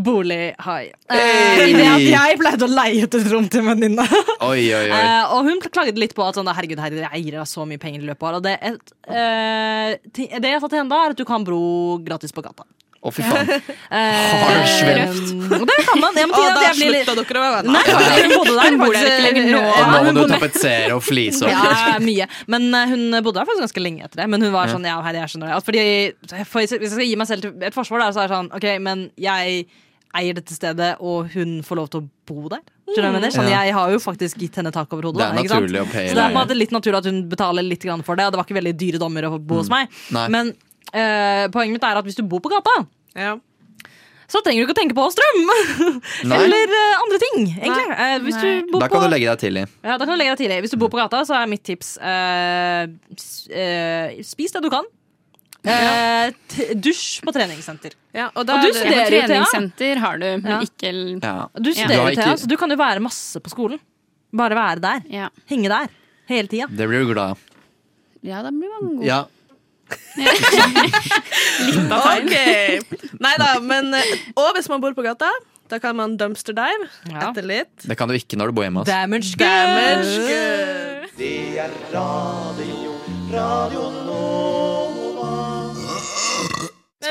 bolighai. Eh, Hey! I det at jeg pleide å leie ut et rom til en venninne. Oi, oi, oi. Eh, og hun klaget litt på at sånn, herregud, herregud, jeg eier av så mye penger i løpet av år. Og det, et, eh, ti- det jeg sa til henne da, er at du kan bro gratis på gata. Å, fy faen. Eh, Harsh og det kan man. Ja, men, Og tiden, at da jeg blir litt- slutta dere å være venner. Nei, hun bodde der. bor der ikke lenger nå. Ja, Og nå hun må du bodde- tapetsere og flise opp. Ja, mye. Men eh, hun bodde der faktisk ganske lenge etter det. Men hun var sånn, ja, herre, jeg skjønner det. Altså, fordi, for hvis jeg skal gi meg selv til et forsvar, der, så er det sånn, ok, men jeg eier dette stedet, og hun får lov til å bo der. Skjønner du hva jeg mener? Sånn, Mm. Ja. jeg har jo faktisk gitt henne tak over hodet. Det er da, ikke sant? naturlig å paye Så det er på en leie. måte litt naturlig at hun betaler litt grann for det, og det var ikke veldig dyre dommer å bo hos meg. Mm. Nei. Men eh, poenget mitt er at hvis du bor på gata, Ja. så trenger du ikke å tenke på strøm! Nei. Eller eh, andre ting, egentlig. Eh, hvis du bor Da kan på du legge deg til i. ja, da kan du legge deg tidlig. Hvis du bor på gata, så er mitt tips eh, s- eh, Spis det du kan. Eh, t dusj på treningssenter. Ja, og Og da du er det studerer. Ja, Dere, Thea? treningssenter har du, men Ja. ikke l- Ja. Du Du har studerer, ikke- Thea, så altså. du kan jo være masse på skolen. Bare være der. ja. Henge der. Hele tida. Det blir du glad av. ja, da blir man god. Ja. OK. Nei da, men eh, Og hvis man bor på gata, da kan man dumpster dive Ja. etter litt. Det kan du ikke når du bor hjemme. ass. Damage Damage.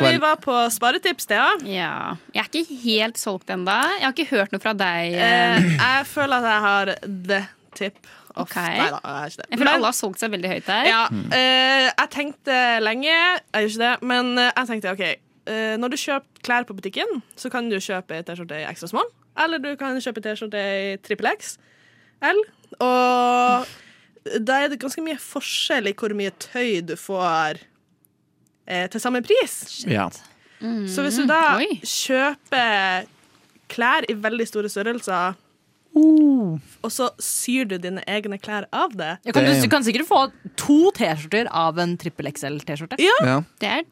Men vi var på sparetips, Thea. Ja. Jeg er ikke helt solgt ennå. Jeg har ikke hørt noe fra deg. eh. Eh, jeg føler at jeg har the tip off. Ok. Nei da, jeg har ikke det. Jeg føler Men- alle har solgt seg veldig høyt der. Ja, eh, jeg tenkte lenge, jeg gjør ikke det, men eh, jeg tenkte OK. eh, når du kjøper klær på butikken, så kan du kjøpe ei T-skjorte i ekstra small, eller du kan kjøpe T-skjorte i trippel XL. Og da er det ganske mye forskjell i hvor mye tøy du får eh, til samme pris. Ja. Så hvis du da oi. kjøper klær i veldig store størrelser, og så syr du dine egne klær av det Ja, kan du, Damn. du kan sikkert få to T-skjorter av en trippel XL-T-skjorte. ja. Det er et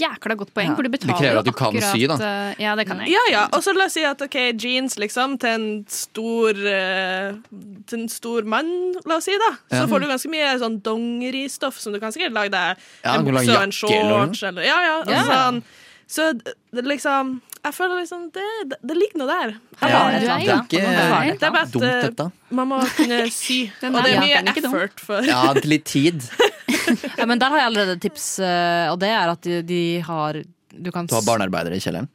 jækla godt poeng, Ja. for du betaler krever at du jo kan akkurat, sy, da. eh, Ja, det kan jeg. Ja, ja. Og så la oss si at ok, jeans liksom til en stor eh, Til en stor mann, la oss si, da. Så Ja. får du ganske mye sånn dongeristoff som du kan sikkert lage deg. Ja, en du kan lage bukse og en jakke eller noe. shorts eller Ja, ja. Og Ja. sånn. Så d- det, liksom Jeg føler liksom Det, det, det ligger noe der. Ja, Ja, du er det jo er ikke- på Det er bare at Dumt, eh, dette. man må kunne sy. Den og er- det ja, er mye den er ikke dum. effort for ja, til litt tid. Ja, men der har jeg allerede et tips, eh, og det er at de, de har du kan Du har barnearbeidere i kjelleren.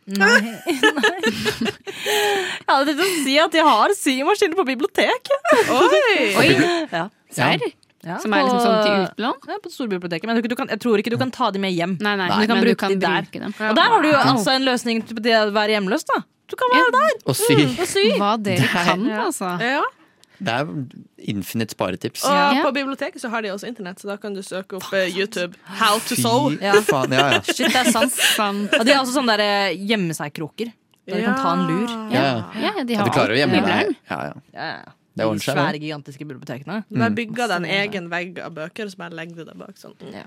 Jeg hadde tenkt å si at de har symaskiner på biblioteket. Oi! Oi, Ja. serr? Ja, Som er liksom på- sånn til utlån? Ja, på storbiblioteket, men jeg tror, ikke du kan, jeg tror ikke du kan ta de med hjem. Nei, nei, Men du kan men bruke du kan de der. bruke dem. Og der har du jo altså en løsning til det å være hjemløs, da. Du kan være der Og sy. og sy. Hva dere kan, altså. Ja. Det er infinite sparetips. Og Ja. på biblioteket så har de også internett, så da kan du søke opp eh, YouTube. How to Fy sew. Ja. faen. Ja, ja. Shit, det er sant. Sånn. Og de har også sånne der eh, gjemme seg-kroker. Der du kan ta en lur. ja, Ja, ja, de ja. har Du klarer å gjemme alt. deg. Ja, ja. Ja, ja. Det De ordner seg, svære, gigantiske bibliotekene. Mm. Du bare bygger deg en egen vegg av bøker, og så bare legger du deg bak sånn. Mm. Ja.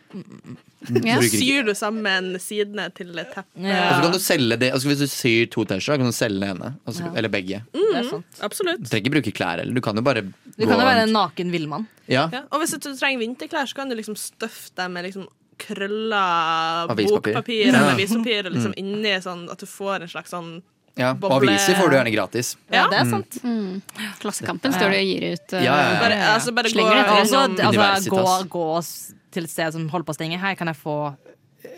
Bruker ikke. Syr du sammen sidene til et teppe. Og så Ja. kan du selge det altså Hvis du syr to T-skjorter, kan du selge den ene. Altså, Ja. Eller begge. Du Det er sant. Absolutt. trenger ikke bruke klær heller. Du kan jo bare Du kan jo være en naken villmann. ja. Ja. Og hvis du trenger vinterklær, så kan du liksom støffe dem med liksom krølla Avispapir. Mm. bokpapir eller avispapir og liksom inni sånn at du får en slags sånn ja. Og Boble. aviser får du gjerne gratis. Ja, Ja. det er sant. Mm. Klassekampen står det og gir ut. Øh, eh, Ja, ja, ja. Bare, altså bare gå Slenger det etter Og så, gjennom sånn. altså, gå, Universitas. gå s- til et sted som holder på å stenge. Her kan jeg få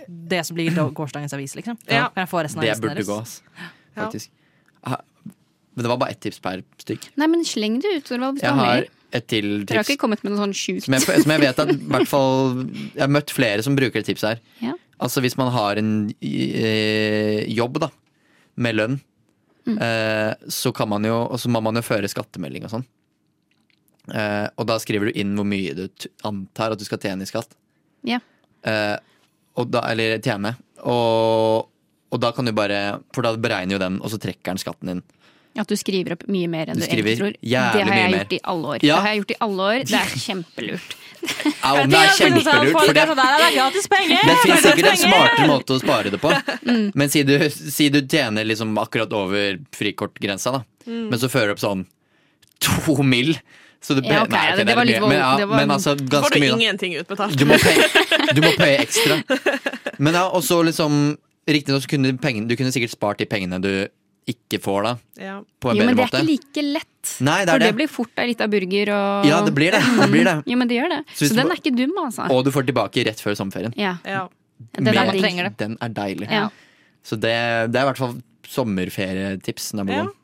det som blir gårsdagens avis, liksom. Ja. Kan jeg få resten av Det avisen burde deres? gå, ass. Faktisk. Ha- Men det var bare ett tips per stykk. Nei, men sleng det ut, Thorvald. hvis du Jeg har har mer. et til Dere har tips. ikke kommet med noe sånn sjukt. Som jeg, som jeg vet at i hvert fall Jeg har møtt flere som bruker det tipset her. Ja. Altså hvis man har en eh, jobb da med lønn, eh, så kan man jo Og så må man jo føre skattemelding og sånn. Eh, og da skriver du inn hvor mye du t- antar at du skal tjene i skatt. Ja. Eh, og da, eller tjene. Og, og da kan du bare For da beregner jo den, og så trekker den skatten din. At du skriver opp mye mer enn Du du, skriver egentlig tror. jævlig det har jeg mye gjort mer. i alle år. Ja. Det har jeg gjort i alle år. Det er kjempelurt. Au, det er kjempelurt, for det, Det er gratis penger! det fins sikkert en smartere måte å spare det på. Mm. Men si du, si du tjener liksom akkurat over frikortgrensa, da. Mm. Men så fører du opp sånn to mill. Så du, Ja, ok, nei, ok, det det er var litt mye, men, vold- ja, det var- men altså Får ganske du mye. da. ingenting utbetalt? Du må paye, du må paye ekstra. Men ja, og så liksom Riktignok så kunne pengene, du kunne sikkert spart de pengene du ikke får, da. Ja. På en Jo, men det er bedre måte. ikke like lett. Nei, det for er det. det. blir fort ei lita burger og Ja, det blir det. det, blir det. Jo, men det gjør det. Så Så, hvis du den ba- er ikke dum, altså. Og du får tilbake rett før sommerferien. Ja. Ja. Den er Med- digg. Den er deilig. Ja. Så det, det er i hvert fall sommerferietips. number Ja. one.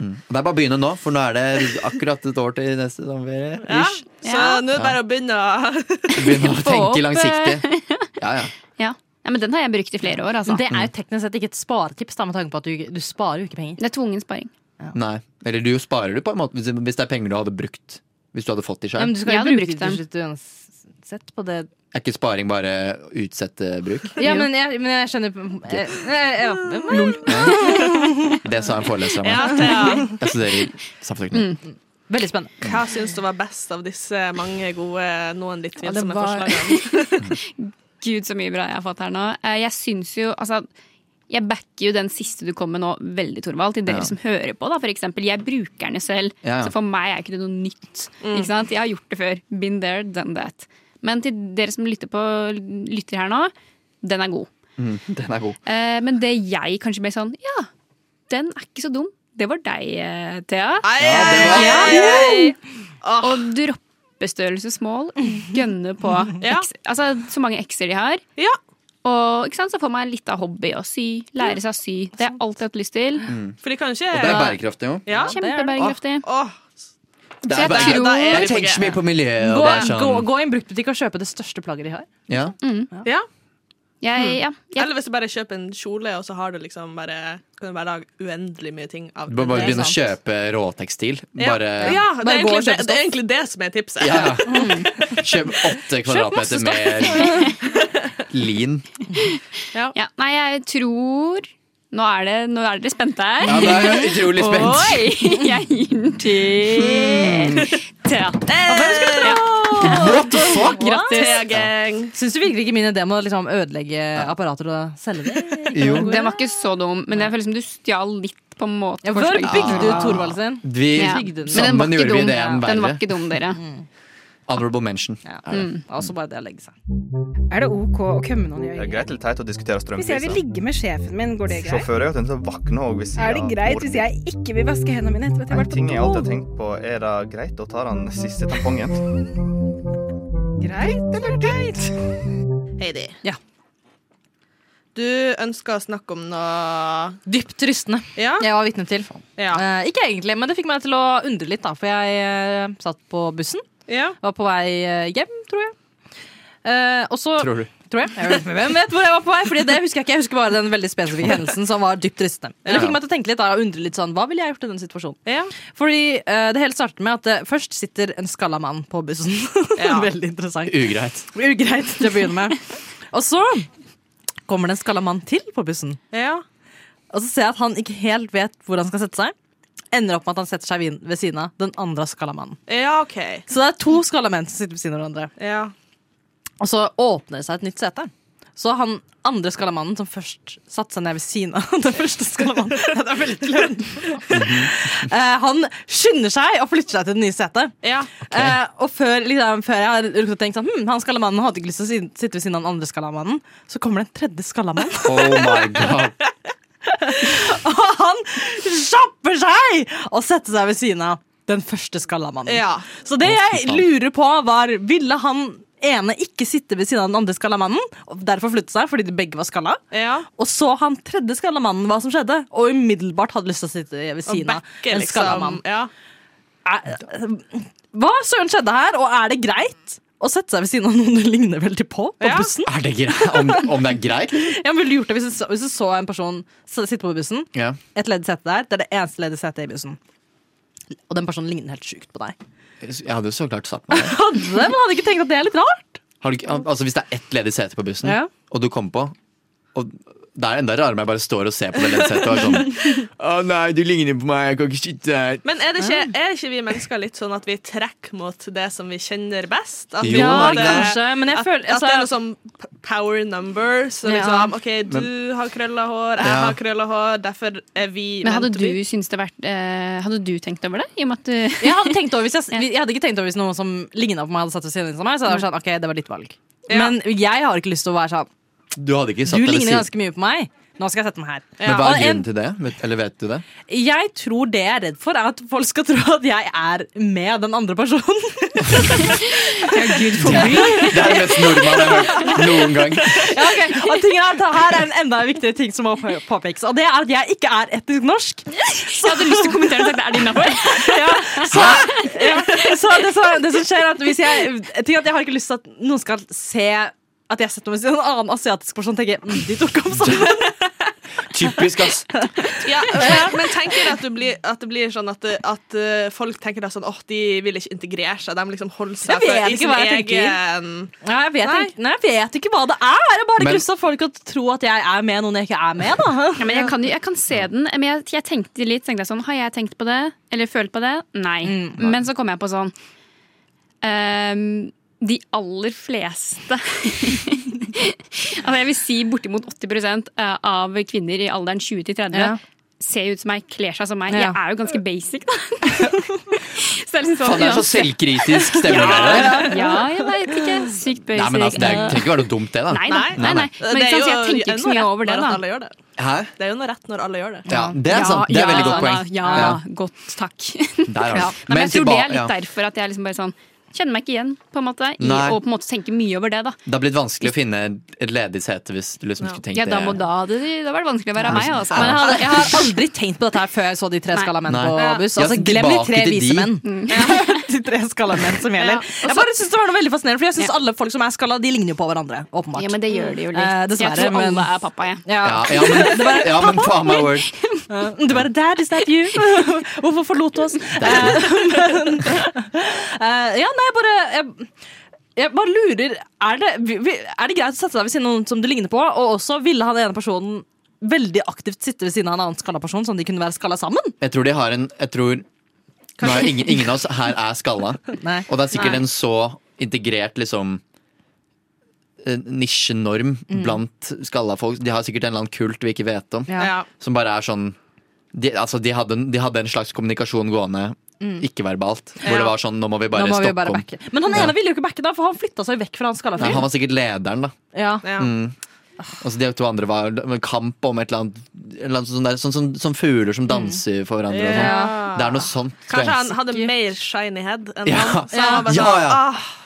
Mm. Og Det er bare å begynne nå, for nå er det akkurat et år til neste sommerferie. ja. Ish. Så nå er det bare å begynne. Begynne å opp, eh, tenke langsiktig. Ja, ja. Ja. ja, men den har jeg brukt i flere år, altså. Det er jo teknisk sett ikke et sparetips, da, med tanke på at du, du sparer jo ikke penger. Det er tvungen sparing. Nei. Eller du sparer du på en måte hvis hvis det er penger du hadde brukt. Hvis du hadde fått de Ja, sjøl. men du skal Jeg jo hadde bruke brukt det dem. til slutt uansett på det. Er ikke sparing bare utsette bruk? Ja, men jeg, men jeg skjønner eh, eh, ja. Det sa en foreleser av meg. Ja, Thea. Jeg studerer samfunnsøkonomi. Veldig spennende. Hva syns du var best av disse mange gode, noen litt Ja, det tvilsomme var- forslagene? Gud, så mye bra jeg har fått her nå. Eh, Jeg syns jo Altså, jeg backer jo den siste du kom med nå, veldig, Torvald. Til dere Ja. som hører på, da, for eksempel. Jeg bruker den jo selv. Ja, ja. Så for meg er ikke det noe nytt. Ikke sant? Jeg har gjort det før. Been there, done that. Men til dere som lytter, på, lytter her nå, den er god. Mm. Den er god. Eh, men det jeg kanskje ble sånn Ja, den er ikke så dum. Det var deg, eh, Thea. Nei, Ja, det var- ja, ja, Yay! Åh. Og droppestørrelsesmål. Gønne på Ja. eks- altså, så mange ekser de har. ja. Og ikke sant, så får man litt av hobby å sy. Lære seg å sy. Det har jeg alltid hatt lyst til. For de kan ikke Og Mm. det er bærekraftig jo. ja. Kjempebærekraftig. Åh, Det jeg er bærekraftig. tror- Jeg tenker så mye på miljøet. Og Gå, det er gå, sånn, gå i en bruktbutikk og kjøpe det største plagget de har. ja. ja. Jeg, ja, Mm. jeg, Eller hvis du bare kjøper en kjole, og så har du liksom bare, kan du bare lage uendelig mye ting av Du må bare det. begynne å kjøpe råtekstil. ja. Bare ja, det Bare er, gå egentlig, og kjøpe det, det er egentlig det som er tipset. ja. Mm. Kjøp åtte kvadratmeter med lin. ja, nei, jeg tror Nå er, det, nå er dere spente her. Ja, det er jeg utrolig spent. Oi! Jeg gir den til Thea. Ja. What the fuck? Grattis. Gang. Syns du virkelig ikke min idé om å liksom ødelegge apparater og selge det? Jo. Den var ikke så dum, men jeg føler som du stjal litt på en måte. Ja, Hvor forslaget. bygde du Thorvald sin? Vi, Ja. Men Bygde den den. var Sammen ikke gjorde vi dum. det en Den var verre. ikke dum, dere. Honorable mention. Ja. Mm. Og så bare det å legge seg. Er det ok å kømme noen i Det er øyet? greit eller teit å diskutere Hvis jeg vil strømpriser. ligge med sjefen min, går det greit? Sjåfører er jo til å våkne òg hvis Er det greit hvis jeg ikke vil vaske hendene mine etter at jeg har En ting jeg alltid vært har på do? tenkt på, er det greit å ta den siste tampongen? Greit eller teit? Heidi. Ja. Du ønsker å snakke om noe Dypt rystende. Ja? Jeg var vitne til. Ja. Eh, ikke egentlig, men det fikk meg til å undre litt, da. For jeg eh, satt på bussen. ja. Var på vei eh, hjem, tror jeg. Eh, og så Tror du? Tror jeg. jeg vet, hvem vet hvor jeg var på vei? Fordi det husker jeg ikke. Jeg husker bare den veldig spesifikke hendelsen som var dypt rystende. Men Det fikk meg til å tenke litt da, og undre litt sånn, hva ville jeg gjort i den situasjonen? ja. Fordi eh, det hele starter med at eh, først sitter en skalla mann på bussen. Ja. veldig interessant. Ugreit. Ugreit til å begynne med. Og så kommer det en skalla mann til på bussen. ja. Og så ser jeg at han ikke helt vet hvor han skal sette seg. Ender opp med at han setter seg vin- ved siden av den andre skalla mannen. Ja, OK. Så det er to skalla menn som sitter ved siden av hverandre. Ja. Og så åpner det seg et nytt sete. Så han andre skallamannen som først satte seg ned ved siden av den første skallamannen Det er veldig kleint. Eh, Han skynder seg og flytter seg til det nye setet. Ja. Eh, og før, liksom, før jeg har rukket å tenke sånn hm, Han skallamannen hadde ikke lyst til å si- sitte ved siden av den andre skallamannen. Så kommer det en tredje skallamann, Oh my god. og han kjapper seg og setter seg ved siden av den første skallamannen. ja. Så det jeg lurer på var Ville han ene ikke sitte ved siden av den andre skallamannen Og derfor flytte seg fordi de begge var skalla ja. Og så han tredje skallamannen hva som skjedde Og umiddelbart hadde lyst til å sitte ved Og siden av backe, en liksom. skallamann Ja. Er- Hva søren skjedde her? Og er det greit? Å sette seg ved siden av noen du ligner veldig på På Ja. bussen Er det greit? Om, om det er greit? liksom? Jeg ville gjort det hvis du så, hvis du så en person s- sitte på bussen Ja. Et ledig sete der, det er det eneste ledige setet i bussen Og den personen ligner helt sykt på deg Jeg hadde jo så klart sagt meg det. Hadde det, men hadde ikke tenkt at det er litt rart. Har du ikke, al- altså Hvis det er ett ledig sete på bussen, Ja. og du kommer på og Det er enda rarere om jeg bare står og ser på det ledige setet og er sånn Å nei, du ligner på meg, jeg kan ikke sitte her. Men er, det ikke, er ikke vi mennesker litt sånn at vi trekker mot det som vi kjenner best? At vi på en Jo, Ja, men måte- det- kanskje, men jeg At, føler at det er noe altså, sånn p- power number. Så Ja. liksom, OK, du har krølla hår, jeg Ja. har krølla hår, derfor er vi Men hadde ment du, vi- syntes det vært, eh, hadde du tenkt over det? I og med at eh, du jeg, hadde tenkt over hvis jeg, jeg hadde ikke tenkt over hvis noen som ligna på meg, hadde satt ved siden av meg. Så hadde jeg vært sånn, ok, det var ditt valg Ja. Men jeg har ikke lyst til å være sånn. Du hadde ikke Du satt deg ved ligner siden. ganske mye på meg. Nå skal jeg sette den her. Men hva Og er en- grunnen til det? Vet- Eller vet du det? Jeg tror det jeg er redd for, er at folk skal tro at jeg er med den andre personen. Det er det mest nordmann jeg har hørt noen gang. Ja, ok. Og tingen er at det her er en enda viktigere ting som må på- påpekes, og det er at jeg ikke er etisk norsk. Så jeg hadde lyst til å kommentere det, er det innafor? Ja, så, ja, så, det, så det som skjer, er at hvis jeg jeg tenker at jeg har ikke lyst til at noen skal se at jeg setter meg ved siden av en annen asiatisk person og tenker mm, de tok opp sammen. Typisk, ass. Ja, men, men tenker dere at, du blir, at det blir sånn at, det- at eh, folk tenker da sånn åh, de vil ikke integrere seg, de liksom holder seg Jeg vet ikke hva jeg egen Nei, jeg vet, ikke, nei, jeg vet ikke hva det er. Jeg har bare Men- ikke lyst til at folk skal tro at jeg er med noen jeg ikke er med. da ja, men jeg, kan, jo- jeg kan se den, men jeg, jeg tenkte litt tenkte jeg sånn, Har jeg tenkt på det? Eller følt på det? Nei. Mm. Men så kom jeg på sånn ehm, De aller fleste Altså Jeg vil si bortimot 80 av kvinner i alderen 20 til 30 Ja. ser ut som meg, kler seg som meg. Ja. Jeg er jo ganske basic, da. så det er liksom sånn, Faen, det er så uansett- selvkritisk stemning der. ja, ja, jeg veit ikke. Sykt basic. Nei, men altså, det er- trenger ikke være noe dumt, det, da. Nei, nei, Nei, nei, nei. Men Det er ikke sant, jo så jeg tenker ikke så noe mye rett over det, når da. at alle gjør det. Hæ? Det er jo noe rett når alle gjør det. Ja, det er sant. Det er ja, veldig godt ja, poeng. Ja, Ja. godt, takk. Der har Ja. du. Nei, Men Men jeg tror det tilba- er litt ja. derfor at jeg liksom bare sånn Kjenner meg ikke igjen, på en måte. I, Nei. og på en måte tenker mye over det, da. Det har blitt vanskelig å finne et ledig sete hvis du liksom skulle tenkt Ja, da må det. da det, Da var det vanskelig å være meg, altså. Men jeg, hadde, jeg har aldri tenkt på dette her før jeg så de tre Nei. skalla menn Nei. på Ja. buss. Ja, Altså, glem de tilbake tre til de. vise menn. Mm. de tre skalla menn som Ja. gjelder. Og Jeg bare synes det var noe veldig fascinerende, for jeg synes alle folk som er skalla, de ligner jo på hverandre. Ja, Åpenbart. men det gjør det jo litt. Eh, dessverre, jeg tror alle men- er pappa, jeg. Ja. Ja, ja, men, ja, men faen meg word. Du Mm, bare Dad, is that you? Hvorfor forlot du oss? Eh, men, eh, ja, nei, jeg bare jeg, jeg bare lurer er det, vi- vi- er det greit å sette deg ved siden av noen som du ligner på? Og også ville han ene personen veldig aktivt sitte ved siden av en annen skalla person, sånn de kunne være skalla sammen? Jeg tror de har en Jeg tror nå er ingen, ingen av oss her er skalla. Nei. Og det er sikkert en så integrert liksom eh, nisjenorm Mm. blant skalla folk. De har sikkert en eller annen kult vi ikke vet om. Ja. Ja. Som bare er sånn de, altså, de, hadde, en- de hadde en slags kommunikasjon gående ikke-verbalt. Hvor Ja. det var sånn Nå må vi bare Nå må vi stoppe jo bare om. backe. Men han Ja. ene ville jo ikke backe, da, for han flytta seg vekk fra han skalla Nei, han fyren. var sikkert lederen, da. Ja. Ja. Altså, de to andre var det var kamp om et eller annet, et eller annet sånn, der, sånn, sånn, sånn fugler som danser for hverandre. Og sånn. Ja. Det er noe sånt. tror jeg. Kanskje han hadde mer shiny head enn Ja. han. Så han var bare Ja, sånn, ja. ah,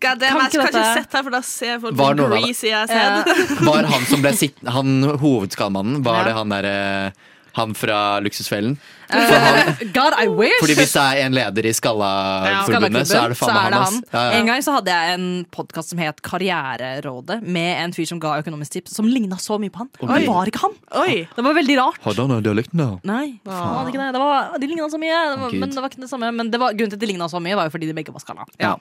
God damn, Kan jeg skal ikke ikke dette- sitte her, for da ser folk Var hvor noen av det- greasy jeg ser. Var han som ble sitt... Han hovedskallmannen, var det han derre han fra Luksusfellen? Eh, God, I wish! Fordi hvis det er en leder i Skallaforbundet, så er det faen meg han. ass. Ja, ja. En gang så hadde jeg en podkast som het Karriererådet, med en fyr som ga økonomisk tips, som ligna så mye på han. Men det var ikke han! Oi. Det var veldig rart. Hadde han den dialekten, da? Nei, han hadde ikke det. det var, de ligna så mye, det var, Gud. men det var ikke det samme. Men det var, grunnen til at de ligna så mye, var jo fordi de begge var skalla. Ja.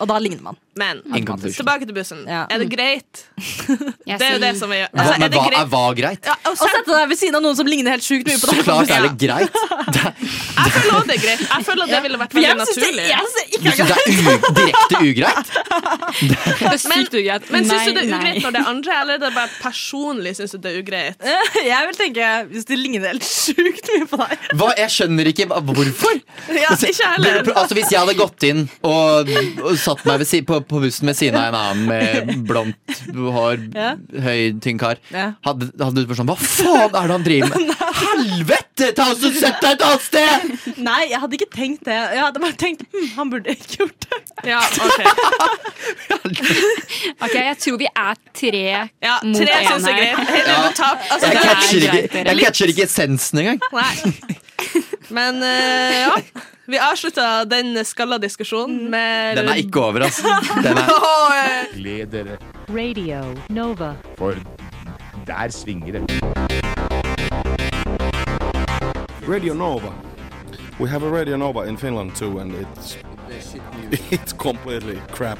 Og da ligner man. Men In conclusion. tilbake til bussen. Ja. Er det greit? Jeg Det er jo det sier- som er Hva, altså, er men det hva greit? er hva greit? Ja, og Å sette deg ved siden av noen som ligner helt sjukt mye på Så deg. klart er det greit! Det er, Jeg føler også det er greit. Jeg føler at det ville vært For veldig jeg syns det, naturlig. jeg synes det du ikke er synes det er u, direkte ugreit? Det er sykt ugreit. Men syns du det er Nei, ugreit nei. når det er andre, eller er det bare personlig syns du det er ugreit? Jeg vil tenke, hvis de ligner helt sjukt mye på deg Hva, jeg skjønner ikke hva- hvorfor. Ja, Altså, ikke heller. burde- Altså, hvis jeg hadde gått inn og, og satt meg ved, si- på, på bussen ved siden av en annen med blondt hår, Ja. høy, tynn kar, Ja. hadde, hadde du bare sånn Hva faen er det han driver med? Helvete! Ta oss og Sett deg et annet sted! Nei, jeg hadde ikke tenkt det. Jeg hadde bare tenkt hm, han burde ikke gjort det. Ja, ok. Ok, jeg tror vi er tre Ja, mot tre én syns det er her. greit. Heller du tap. Altså, Jeg det er catcher greit, ikke, dere. jeg catcher ikke essensen engang. Nei. Men eh, ja. Vi avslutta den skalla diskusjonen Mm. med Den er ikke over, altså. Den er, Gled dere. Radio Nova. For der svinger det. Radio Nova. We have a Radio Nova in Finland too, and it's It's completely crap.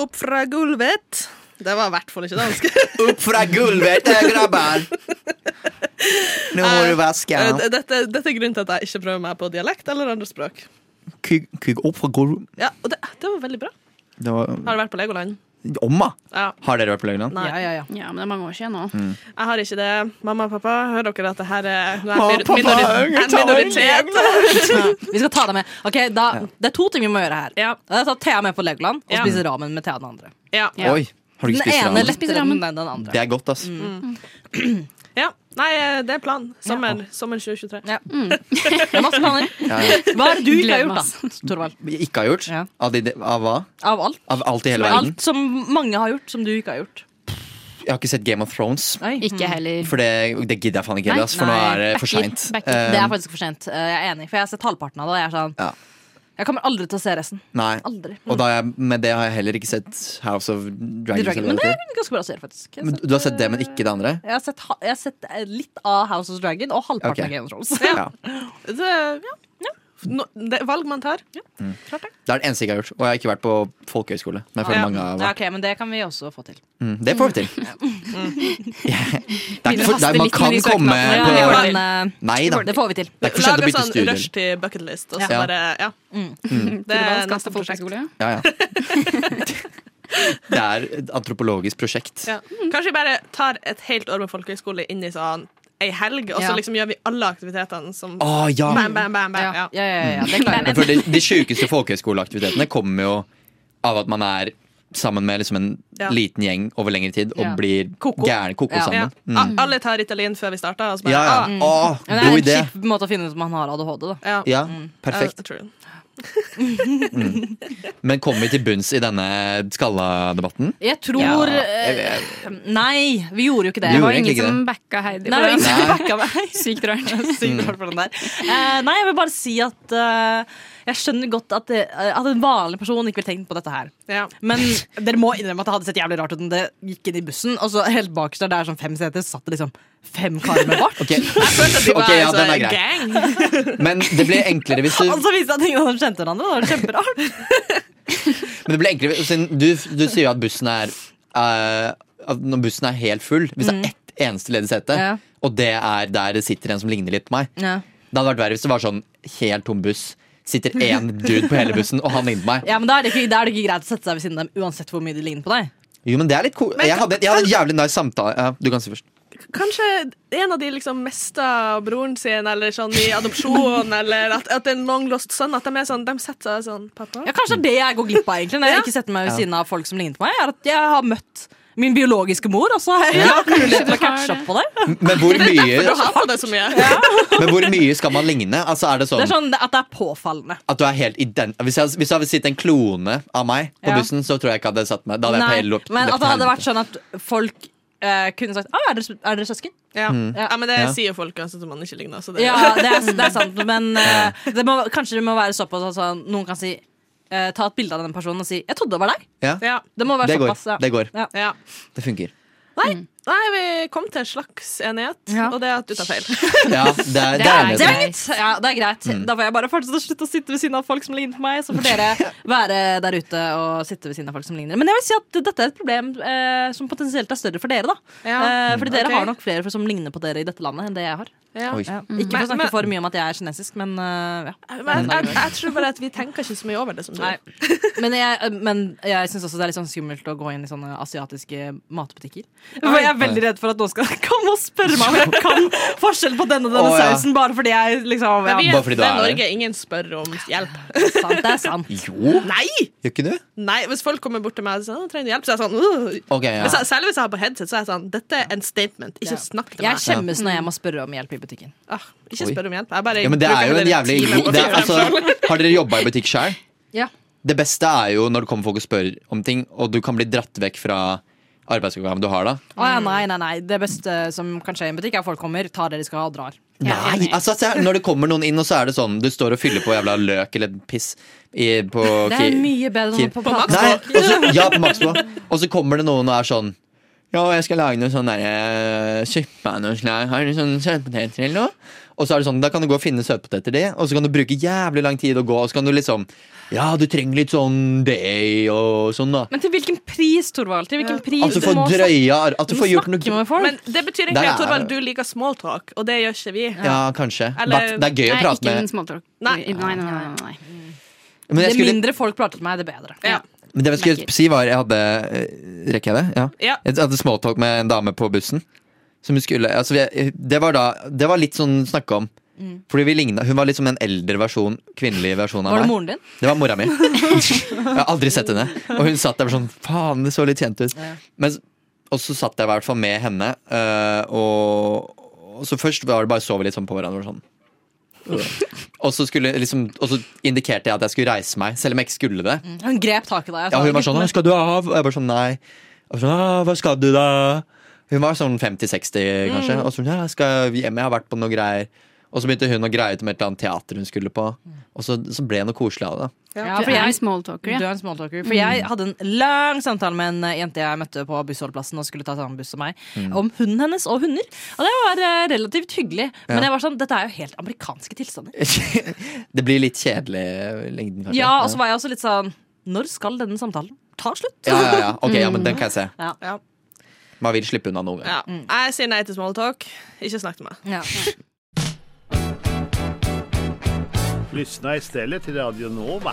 Opp fra gulvet. Det var i hvert fall ikke dansk. Opp fra gulvet, grabber! Nå må du vaske. Eh, Dette, dette er grunnen til at jeg ikke prøver meg på dialekt eller andre språk. Kuk, kuk opp fra gulvet. Ja, og det, det var veldig bra. Det var Har du vært på Legoland? Omma! Ja. Har dere vært på Løgland? Nei. Ja, ja, ja. Ja, men det er mange år siden nå. Mm. Jeg har ikke det. Mamma og pappa, hører dere at det her er nå Mamma er og pappa, jeg minori- jeg en minoritet? Vi skal ta deg med. Ok, da, Det er to ting vi må gjøre her. Ja. Det er å ta Thea med på Legoland og Ja. spise ramen med Thea den andre. Ja. Ja. Oi, har du Den ikke spist ene Mm. ramen? Spise lettere ramen. enn den andre. Det er godt, ass. ja. Nei, eh, det er planen. Sommer, sommeren 2023. Ja. Det er masse planer. Ja, ja. Hva er det du ikke Gleder har meg, gjort, da? Torvald? Jeg Ikke har gjort? Ja. Av, de, av hva? Av alt. Av alt i hele verden? Alt som mange har gjort, som du ikke har gjort. Jeg har ikke sett Game of Thrones. Ikke heller. For det, det gidder jeg faen ikke heller, ass, for nå Nei, er det for backer, seint. Um, backer. Det er faktisk for sent. Eh, Jeg er enig, for jeg har sett halvparten av det. og Jeg er sånn Mm. Ja. Jeg kommer aldri til å se resten. Nei. Aldri. Og da er, men det har jeg heller ikke sett House of The Dragons. Dragon. eller Men hva det det er en ganske bra serie, faktisk. Jeg har heter. men sett, du har sett det, men ikke det andre? jeg har sett, ha- jeg har sett eh, litt av House of Dragon og halvparten Ok. av Game of Thrones. Ja. Det, ja. No, det er valg man tar. Det er det eneste jeg ikke har gjort. Og jeg har ikke vært på folkehøyskole. Men jeg føler Ja. mange har Ja, vært. ok, men det kan vi også få til. Mm, det får vi til. Det er ikke Begynner å haste for, det er, man litt med kan de komme søknadene, ja, på det går Det til. Men, eh, Nei da. Det får vi til. er ikke for Lag sent å en bytte sånn studier. Mm. rush til bucketlist, og så Ja. bare Ja. Mm. Det er Det var neste Eh, neste prosjekt. folkehøyskole. Ja, ja. Det er et antropologisk prosjekt. Ja. Mm. Kanskje vi bare tar et helt år med folkehøyskole inn i sånn ei helg, og så Ja. liksom gjør vi alle aktivitetene som Å ja! Bam, bam, bam, bam. Ja, Ja. ja, ja, ja, det klarer Men jeg. for de, de sjukeste folkehøyskoleaktivitetene kommer jo av at man er sammen med liksom en Ja. liten gjeng over lengre tid og Ja. blir Koko. gæren koko Ja. Ja. sammen. A- Alle tar Ritalin før vi starter, og så bare Mm. Ja, ja. ah, Å, Men det er god en idé! kjip måte å finne ut om han har ADHD, da. ja. Ja, Ja, perfekt. true. Men kommer vi til bunns i denne skalla-debatten? Jeg tror Ja, jeg eh, Nei, vi gjorde jo ikke det. Vi Det var Gjorde egentlig ingen ikke Mm. som backa Heidi. Nei, på den. vi backa meg. Sykt rart. Sykt rart for den der. Eh, nei, jeg vil bare si at eh, jeg skjønner godt at, det, at en vanlig person ikke vil tenke på dette her. Ja. Men dere må innrømme at det hadde sett jævlig rart ut om det gikk inn i bussen, og så helt bakerst der det er sånn fem seter, satt det liksom fem karer med bart. Ok, De var Ok, ja, altså den er grei. gang. Men det blir enklere hvis du Og så viste det at ingen av dem kjente hverandre. Det var kjemperart. Men det blir enklere hvis- siden du, du sier jo at bussen er eh, at Når bussen er helt full, hvis det er ett eneste ledig sete, Mm. Ja. og det er der det sitter en som ligner litt på meg Ja. Det hadde vært verre hvis det var sånn helt tom buss. Sitter én dude på hele bussen, og han ligner på meg. men da er, det ikke, da er det ikke greit å sette seg ved siden av dem uansett hvor mye de ligner på deg. Jo, men det er litt cool. Jeg hadde, jeg hadde en jævlig nice samtale. Ja, du kan si først. Kanskje en av de liksom mista broren sin, eller sånn i adopsjon, eller at, at det er en long lost son. At de er sånn, de setter seg sånn Pappa? Ja, Kanskje det er det jeg går glipp av, egentlig, når jeg Ja. ikke setter meg ved siden av folk som ligner på meg. Er at jeg har møtt min biologiske mor, og så har jeg hatt mulighet til å catche opp på det. Men hvor Du mye, har på deg så mye. Ja. men hvor mye skal man ligne? Altså, er det Det sånn er sånn at det er påfallende. at du er helt ident... Hvis jeg, hvis jeg hadde sittet en klone av meg på Ja. bussen, så tror jeg ikke jeg hadde satt meg. Da hadde jeg Nei, hele løpt, men løpt at det hadde helvete. vært sånn at folk eh, kunne sagt ah, er, dere, er dere søsken? Ja. men det Mm. Ja. sier jo folk uansett om man ikke ligner. Så det, Ja, det er, det er sant, men eh, det må, kanskje det må være såpass at sånn, noen kan si eh, Ta et bilde av den personen og si 'jeg trodde det var deg'. ja. ja. Det må være Det går. såpass. Ja. Det går. ja. Det funker. Nei, vi kom til en slags enighet, Ja. og det er at du tar feil. Ja, det er, Det det er er enighet. det. Dang it! Ja, det er greit. Mm. Da får jeg bare fortsette å slutte å sitte ved siden av folk som ligner på meg. Så får dere være der ute og sitte ved siden av folk som ligner. Men jeg vil si at dette er et problem eh, som potensielt er større for dere. da Ja. Eh, Fordi dere Ok. har nok flere som ligner på dere i dette landet enn det jeg har. Ja. Oi. Ikke for Mm. Men- å snakke men- for mye om at jeg er kinesisk, men eh, ja. Men jeg, jeg, jeg tror bare at vi tenker ikke så mye over det som du. Nei. Men jeg, eh, men jeg syns også det er litt sånn skummelt å gå inn i sånne asiatiske matbutikker. For jeg er veldig redd for at noen skal komme og spørre meg om jeg kan forskjell på denne og denne Å, ja. sausen, bare fordi jeg liksom ja. Men vi Bare fordi du det er her. Norge, ingen spør om hjelp. Det er sant, det er sant. Jo, Nei! gjør ikke du? Nei, Hvis folk kommer bort til meg og sier «Å, trenger du hjelp, så er jeg sånn «Åh». Ok, ja. Men så- Særlig hvis jeg har på headset, så er jeg sånn Dette er en statement. Ikke snakk til Jeg meg. skjemmes når jeg må spørre om hjelp i butikken. Ah, ikke Oi. spør om hjelp. Jeg bare Ja, men det bruker er jo en hele jævlig timen på å det, er- finne altså, frem. Har dere jobba i butikk sjøl? Ja. Det beste er jo når det kommer folk og spør om ting, og du kan bli dratt vekk fra arbeidsoppgaven du har da. Å, ja, nei, nei, nei. Det beste som kan skje i en butikk, er at folk kommer, tar det de skal ha, og drar. Nei, altså se her, Når det kommer noen inn, og så er det sånn du står og fyller på jævla løk eller piss i, på Det Ki- er mye bedre Ki- enn på plass. Nei, og så, ja, på Maxbo. Og så kommer det noen og er sånn Ja, jeg skal lage noe sånn derre Kjøpe meg noe slag. Har du sånne søtpoteter eller noe? Og så er det sånn, Da kan du gå og finne søtpoteter, det, og så kan du bruke jævlig lang tid å gå. Og så kan du liksom Ja, du trenger litt sånn day og sånn, da. Men til hvilken pris, Torvald? Til hvilken pris? At du får må drøya ar- At du får gjort snakke noe med folk. Men det betyr Der egentlig er- at Torvald, du liker small talk, og det gjør ikke vi. Ja, kanskje. Eller- But det er gøy å Nei, prate ikke en med småtalk. Nei, Nei. nei, nei. nei, nei. Men jeg det skulle, mindre folk prater til meg, det bedre. Ja. men det jeg Merker. skulle si, var jeg hadde eh, Rekker jeg det? Ja. Ja. Jeg hadde småtalk med en dame på bussen. Som hun skulle, altså vi, det, var da, det var litt sånn snakke om. Mm. Fordi vi lignet, Hun var litt som en eldre versjon, kvinnelig versjon av Var det meg. moren din? Det var mora mi. Jeg har aldri sett henne. Og hun satt der sånn Faen, det så litt kjent ut. Men, og så satt jeg i hvert fall med henne, øh, og, og så først var det bare så vi litt sånn på hverandre. og Sånn. Og, så skulle, liksom, og så indikerte jeg at jeg skulle reise meg, selv om jeg ikke skulle det. Hun grep tak i deg. jeg Ja, sa, hun var sånn «Gutten 'Å, min». 'Skal du av?' Og jeg bare sånn 'Nei'. Og sånn, «Å, 'Hva skal du, da?' Hun var sånn 50-60, kanskje. Mm. Og så sånn, ja, jeg skal hjem, jeg har vært på noen greier. Og så begynte hun å greie ut om et eller annet teater hun skulle på. Mm. Og så, så ble det noe koselig av det. Ja, Mm. Du for er jeg en småtalker, Du ja. er en smalltalker. For jeg hadde en lang samtale med en eh, jente jeg møtte på bussholdeplassen og skulle ta samme buss som meg, Mm. om hunden hennes og hunder. Og det var eh, relativt hyggelig. Men jeg var sånn, dette er jo helt amerikanske tilstander. det blir litt kjedelig i lengden, kanskje. Ja, Og så var jeg også litt sånn, når skal denne samtalen ta slutt? ja, ja, ja. Ok, ja, men den kan jeg se. Ja. Ja. Man vil slippe unna noen gang. Ja. Jeg sier nei til small talk. Ikke snakk til meg. Ja. Lyssna istället till Radio Nova.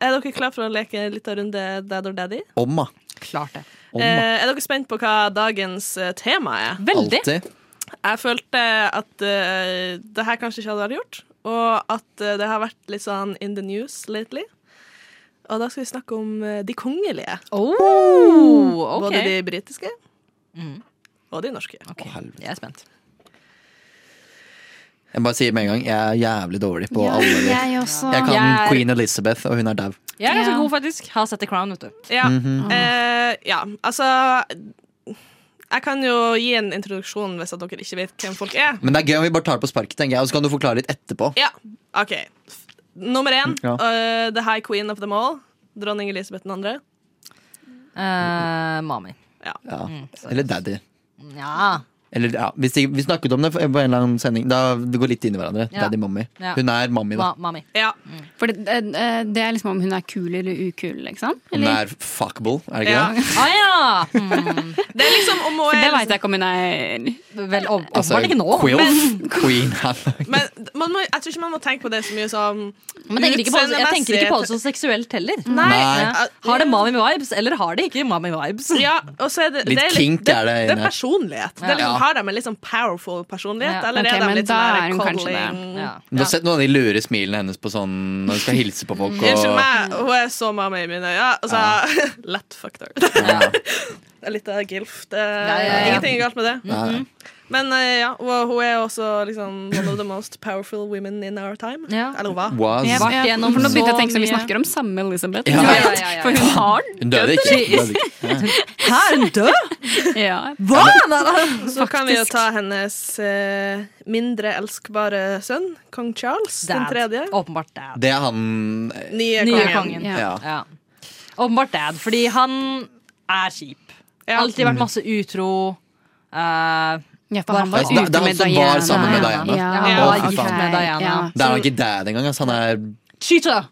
Er dere klare for å leke en liten runde dad or daddy? Om, da. Klart det. Om, Eh, da. er dere spent på hva dagens eh, tema er? Veldig. Alltid. Jeg følte at eh, det her kanskje ikke hadde vært gjort, og at eh, det har vært litt sånn in the news lately. Og da skal vi snakke om eh, de kongelige. Oh, ok. Både de britiske Mm. og de norske. Ok, helvete. Jeg er spent. Jeg bare sier med en gang, jeg er jævlig dårlig på alle de. Jeg også. Jeg kan Jeg er- Queen Elizabeth, og hun er dau. Jeg er ganske Ja. god, faktisk. Har sett The Crown, vet du. Ja, Mhm. eh, ja altså Jeg kan jo gi en introduksjon hvis at dere ikke vet hvem folk er. Men det er gøy om vi bare tar det på sparket, tenker jeg, og så kan du forklare litt etterpå. Ja, OK. F- Nummer én, Ja. eh, the high queen of them all. Dronning Elisabeth 2. Eh, mami. Ja. Mm. Eller daddy. Ja. Eller, ja. vi, stik- vi snakket om det på en eller annen sending. Da det går litt inn i hverandre. Ja. Daddy, mommy. Ja. Hun er mommy, da. Ma mami. Ja. For det, det, det er liksom om hun er kul eller ukul, liksom? Hun Eller? er fuckable, er det ikke ja. det? Ah, ja. Mm. Det er liksom om hun For det er veit jeg ikke om hun er. Vel, åp- åpenbart ikke nå. Quilf. Altså, Queen er Men man må, jeg tror ikke man må tenke på det så mye som Men jeg tenker ikke på det, jeg tenker ikke på det så seksuelt heller. Nei. Ja. Har det mami vibes, eller har det ikke mami vibes? Ja, og så er det, Litt det er kink det, er det det inne. er personlighet. Det er liksom, Ja. Har de en litt sånn powerful personlighet, Ja, eller ok, er de men litt da sånn er der hun kanskje coddling? Ja. Mm. Du har sett noen av de lure smilene hennes på sånn når du skal hilse på folk. Unnskyld Og, meg, hun er så mamma i mine øyne. Og så lett fucked her. ja. Det er litt av gilf. Det er ja, ja. Ingenting er galt med det. Ja, ja. Men eh, ja, og hun er også liksom one of the most powerful women in our time. Ja. Eller hva? Was. Jeg, Vært jeg, gjennom for nå begynte jeg å tenke så sånn, vi mye. snakker om samme Elizabeth. Ja. Ja, ja, ja, For hun har den. Hun døde ikke. Hun døde ikke. Hæ, er hun død? Ja. Hva? Nei, nei. Så kan vi jo ta hennes eh, mindre elskbare sønn, kong Charles den Dad. tredje. Åpenbart dad. Det er han Nye, Nye kongen. kongen. Ja. Ja. Ja. Åpenbart dad, fordi han er kjip. Ja. Alltid vært masse utro. Eh, Ja, for han var Altså, det- det ute er han med som Diana. var sammen med Diana. Ja, Ja, han var ok. gift med Diana. Ja. Det er han ikke dad engang. Altså, han er cheater!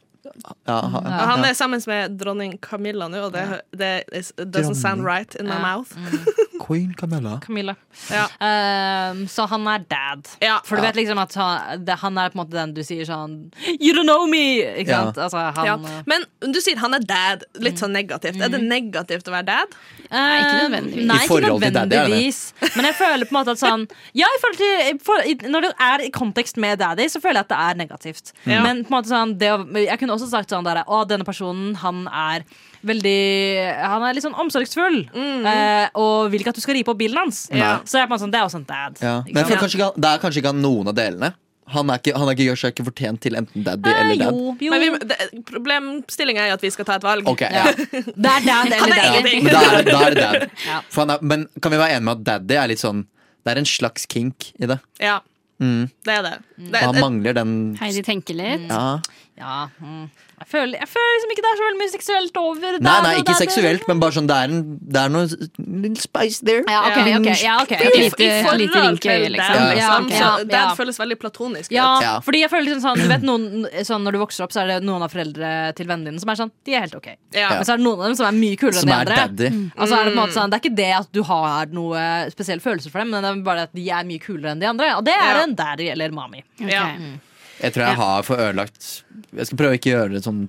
ja, han, Og han er sammen med dronning Camilla nå, og det, det is, it doesn't sound right in my Ja. mouth. Ah, Queen Camilla. Camilla. Ja. Eh, så han er dad. Ja. For du vet liksom at han, det, han er på en måte den du sier sånn You don't know me! Ikke Ja. sant? Altså, han, Ja. Men du sier han er dad. Litt sånn negativt. Er det negativt å være dad? Nei, ikke nødvendigvis. Eh, Nei, I ikke forhold til daddy, er det det? nødvendigvis. Men jeg føler på en måte at sånn Ja, i forhold til, i for, i, når det er i kontekst med daddy, så føler jeg at det er negativt. Ja. Men på en måte sånn det, å- Jeg kunne også sagt sånn der Å, denne personen, han er veldig Han er litt sånn omsorgsfull. eh, og vil ikke at du skal ripe opp bilen hans. Ja. Så jeg er på en måte sånn, det er også en dad. Ja. Ikke Men jeg sant? føler kanskje ikke han, det er kanskje ikke han noen av delene. Han, er ikke, han er ikke, gjør seg ikke fortjent til enten daddy Eh, eller dad. jo, jo. Men vi, det- problemstillingen er jo at vi skal ta et valg. Ok, ja. ja. Det er dad Han eller er dad. Ja, egentlig- men da er, da er det dad. Ja. For han er, men kan vi være enige med at daddy er litt sånn Det er en slags kink i det. Ja, Mm. det er det. det, Mm. Og han det mangler den Heidi tenker litt. ja. Ja, mm. jeg, føler, jeg føler liksom ikke det er så veldig mye seksuelt over Nei, der nei, og ikke der. seksuelt, men bare sånn det er, en, det er noe little spice there. Ja, ok, ok, ja, ok. Little Ok, spice. lite- forhold lite rynke i øyet, til liksom. den, Ja, liksom. ok, Så ja, Den ja. føles veldig platonisk. Ja, ut. fordi jeg føler liksom sånn, du vet noen, sånn Når du vokser opp, så er det noen av foreldre til vennene dine som er sånn De er helt ok. Ja. Men så er det noen av dem som er mye kulere Som enn de er andre. daddy. Mm. Altså er det, på en måte sånn, det er ikke det at du har noe spesielle følelser for dem, men det er bare at de er mye kulere enn de andre. Og det er Ja. en daddy eller mami. Ja. Mm. Jeg tror jeg har for ødelagt Jeg skal prøve å ikke gjøre det sånn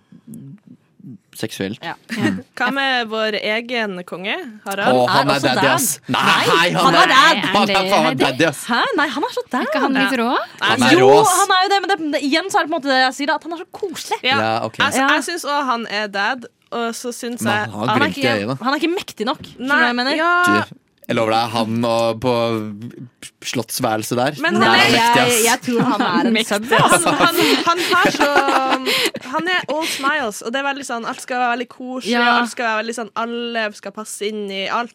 seksuelt. Ja. Hva med vår egen konge, Å, Harald? han er også daddy, dad. ass! Nei, han, han er dad. Han er faen meg Er det- daddy, ass! Hæ? Nei, han er så dad. Ikke han litt rå? Han er Jo, rå, ass! han er jo det, men det, men igjen så er det på en måte det jeg sier, da, at han er så koselig. Ja. Ja, ok. Altså, Ja. jeg syns òg han er dad, og så syns Men jeg han har glimt i øyet, da. Han er ikke mektig nok. Skjønner du hva jeg Nei, mener? ja, Du, Jeg lover deg, han og på slottsværelset der. Men der han er- er mektig, ass. jeg tror han er en sub. han, han, han har så um, Han er all smiles, og det er veldig sånn alt skal være veldig koselig, Ja. alt skal være veldig sånn alle skal passe inn i alt.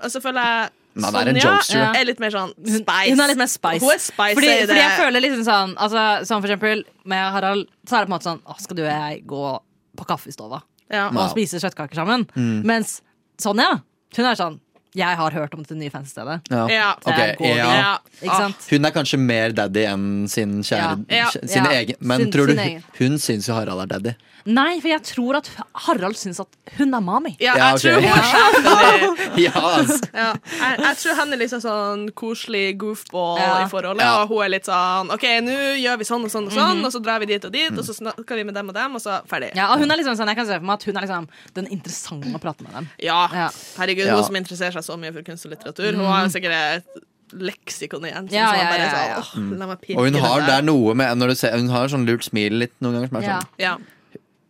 Og så føler jeg Men han er en Sonja jokester, da. er litt mer sånn Hun- spice. Hun er litt mer spice. Hun er spicy fordi, i det. fordi jeg føler liksom sånn altså, Som for eksempel med Harald, så er det på en måte sånn Å, skal du og jeg gå på kaffestova ja. og spise kjøttkaker sammen? Mm. Mens Sonja, hun er sånn Jeg har hørt om det nye fanstedet. Ja. Ok, Der går vi. ja. Ja. Ikke sant? Hun er kanskje mer daddy enn sin kjære Ja, ja, kj- sin ja. egen, Men Sin- tror du sin hun, egen. hun syns jo Harald er daddy? Nei, for jeg tror at Harald syns at hun er mami. Ja, jeg Ja, ok. tror hun er skikkelig Ja, ass. ja. jeg, jeg tror han er liksom sånn koselig goofball i Ja. forholdet, Ja. og hun er litt sånn OK, nå gjør vi sånn og sånn og sånn, og så drar vi dit og dit, og så Mm. snakker vi med dem og dem, og så ferdig. Mhm. Ja, og hun er liksom sånn, Jeg kan se for meg at hun er liksom den interessante å prate med dem. Ja. Ja. Mhm. Herregud, Ja. hun som interesserer seg så mye for kunst og litteratur. Hun har jo sikkert et leksikon igjen. Ja, som ja, bare ja, sånn, ja. «Åh, La meg pirke Og hun den har der». der noe med Når du ser, Hun har sånn lurt smil litt noen ganger. Som er Ja. sånn, Ja.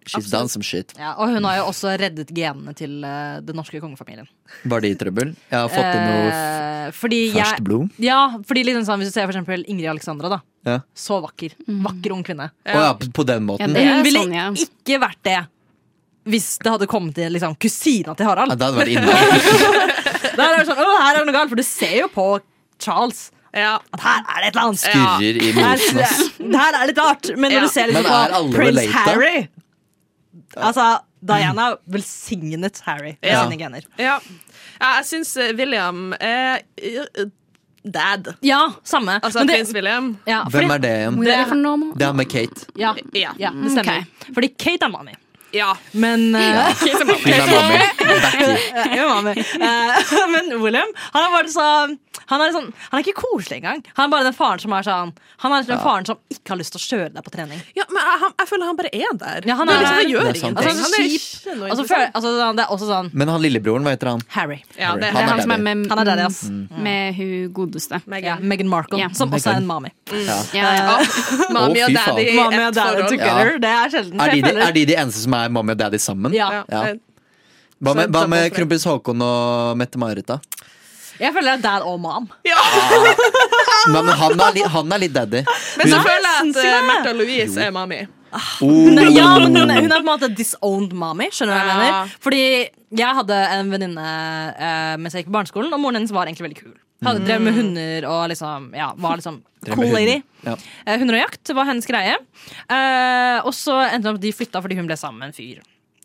She's done some shit. Ja, og hun har jo også reddet genene til eh, den norske kongefamilien. Var de i trøbbel? Jeg har fått inn noe f- Eh, fordi jeg, ferskt blod. Ja, fordi liksom sånn, Hvis du ser for eksempel Ingrid Alexandra, da. Ja. Så vakker. Vakker ung kvinne. Å ja, på- på den Ja, måten. det Ja, Hun er ville sånn, ja. ikke vært det hvis det hadde kommet til liksom, kusina til Harald. det hadde vært innmari. Der er det sånn, «Å, her er det noe galt, For du ser jo på Charles Ja. at her er det et eller annet. Skurrer i mosen, Her, ass. her er det litt rart. Men når Ja. du ser liksom Men er alle på prins related? Harry Altså, Diana velsignet Harry med Ja. sine gener. ja. ja jeg syns eh, William er eh, dad. Ja, samme. Altså Men det- prins William. ja, fordi- Hvem er det igjen? Hvor er det for noe om- Det er med Kate. Ja, Ja. ja, det stemmer. Fordi Kate er mami. Ja. Men eh, Hun er mamma. Becky. Jeg er mami. Eh, men William, han er bare sånn han er, sånn, han er ikke koselig engang. Han er bare den faren som er sånn Han er den faren som ikke har lyst til å kjøre deg på trening. ja, men jeg, han- jeg føler han bare er der. Ja, han Det er- liksom, han gjør Det er ingenting. sant. Altså, han han er ikke noe Altså, interessant. før, altså, sånn, det er også sånn Men han lillebroren, hva heter han? Harry. ja, det, Det Han er er han som er daddy. med, Mm. Han er daddy, ass. med hun godeste. Ja, Meghan. Meghan Markle, Ja. som også er en Mm. Meghan. mami. Ja. Ja, ja. Å, Mami Å, og fy daddy faen. i Mami og ett daddy forhold. together, det er sjelden. så Er de, jeg de, føler- er de de eneste som er mommy og daddy sammen? ja. Ja. Ja. eh, Hva med, hva med Sånn, sånn. kronprins Haakon og Mette-Marit, da? Jeg føler det er dad og mam. Nei, Men han er, li, han er litt daddy. Men så Hun- føler jeg at syns ikke eh, det. Märtha Louise er mami. Hun er, Oh. ja, men hun, er, hun er på en måte disowned mommy. Skjønner du hva jeg Ja. mener? Fordi jeg hadde en venninne eh, mens jeg gikk på barneskolen, og moren hennes var egentlig veldig kul. Hadde drev med hunder og liksom, ja, var liksom Drev med cool hunden. lady. Ja. Eh, Hunder og jakt var hennes greie. Eh, og så endte det opp at de flytta fordi hun ble sammen med en fyr.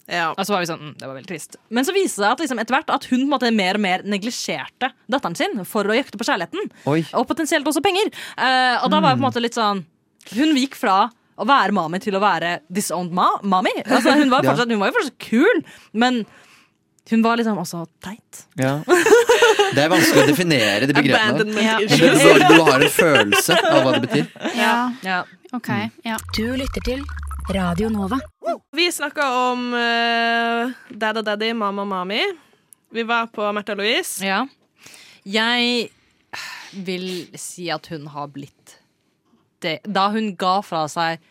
Ja. Og så var vi sånn, mm, det var veldig trist Men så viste det seg at liksom, etter hvert at hun på en måte, mer og mer neglisjerte datteren sin for å jakte på kjærligheten. Oi. Og potensielt også penger. Eh, og da var jeg på en måte litt sånn Hun gikk fra å være mami til å være disowned ma mami. Altså, hun, var Ja. fortsatt, hun var jo fortsatt kul, men hun var liksom også teit. Ja. Det er vanskelig å definere de begrepene. Abandonment Ja. Men issues. Du, du har en følelse av hva det betyr. Ja, Ja. ok. Ja. Du lytter til Radio Nova. Vi snakka om eh, Dad og Daddy, Mamma og Mami. Vi var på Märtha Louise. Ja. Jeg vil si at hun har blitt det. Da hun ga fra seg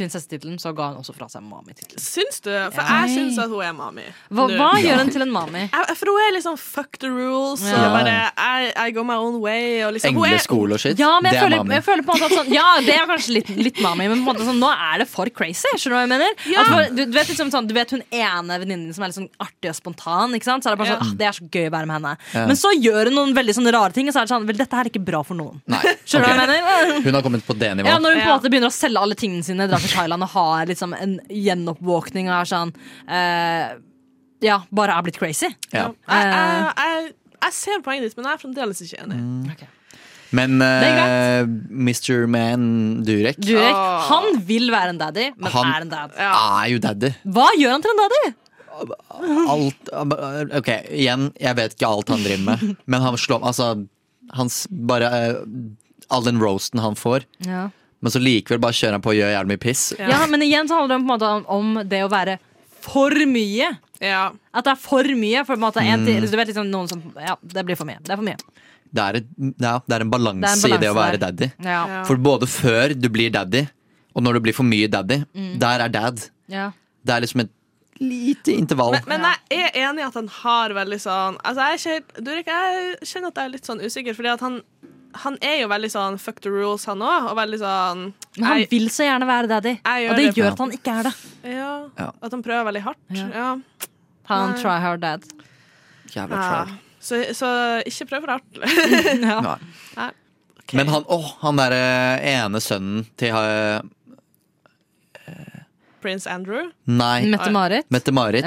prinsessetittelen, så ga hun også fra seg mami-tittelen. Syns du? For Ja. jeg syns at hun er mami. Hva, Nå. hva gjør hun til en mami? Jeg, jeg tror hun er liksom fuck the rules Ja. og bare I, I go my own way. Og liksom, hun er, Engleskole og shit. Ja, men det jeg er føler, mami. jeg føler på en måte at sånn Ja, det er kanskje litt, litt mami, men på en måte sånn, nå er det for crazy. Skjønner du hva jeg mener? Ja. At for, du, du, vet, liksom, sånn, du vet hun ene venninnen din som er litt sånn artig og spontan. Ikke sant? Så er det bare sånn, ah, det er så gøy å være med henne. Ja. Men så gjør hun noen veldig sånne rare ting, og så er det sånn Vel, dette her er ikke bra for noen. Nei. Skjønner du hva ok. jeg mener? Hun har kommet på det Ja, nivået. Når hun på en Ja. måte begynner å selge alle tingene sine, drar til til Thailand og har liksom en gjenoppvåkning og er sånn eh, Ja, bare er blitt crazy. Ja. Jeg, jeg, jeg, jeg ser poenget ditt, men jeg er fremdeles ikke enig. Men Det er eh, Mr. Man Durek, Durek, han vil være en daddy, men han er en dad. er jo daddy. Hva gjør han til en daddy? Alt Ok, igjen, jeg vet ikke alt han driver med, men han slår Altså, hans bare eh, All den roasten han får, Ja. men så likevel bare kjører han på og gjør jævlig mye piss. Ja. men igjen så handler det på en måte om, om det å være for mye. At det er for mye. For på en måte, en til, Mm. du vet liksom noen som Ja, det blir for mye. Det er for mye. Det er, et, ja, det er en balanse Det er en i det balanse å være der. daddy. Ja. For både før du blir daddy, og når du blir for mye daddy, Mm. der er dad. Ja. Det er liksom et lite intervall. Men, men jeg er enig i at han har veldig sånn altså jeg, er ikke helt- Durek, jeg kjenner at jeg er litt sånn usikker, fordi at han, han er jo veldig sånn fuck the rules, han òg. Og veldig sånn Men han jeg- vil så gjerne være daddy, gjør og det det. gjør at han ikke er det. ja, Ja. At han prøver veldig hardt. Ja. Han Nei. try hard dad. Jævla Ja. tryhard. Ah. Så, så ikke prøv for hardt. Nei. Nei. Men han, åh, han derre ene sønnen til eh, Prince Andrew. Nei. Mette-Marit. Mette-Marit.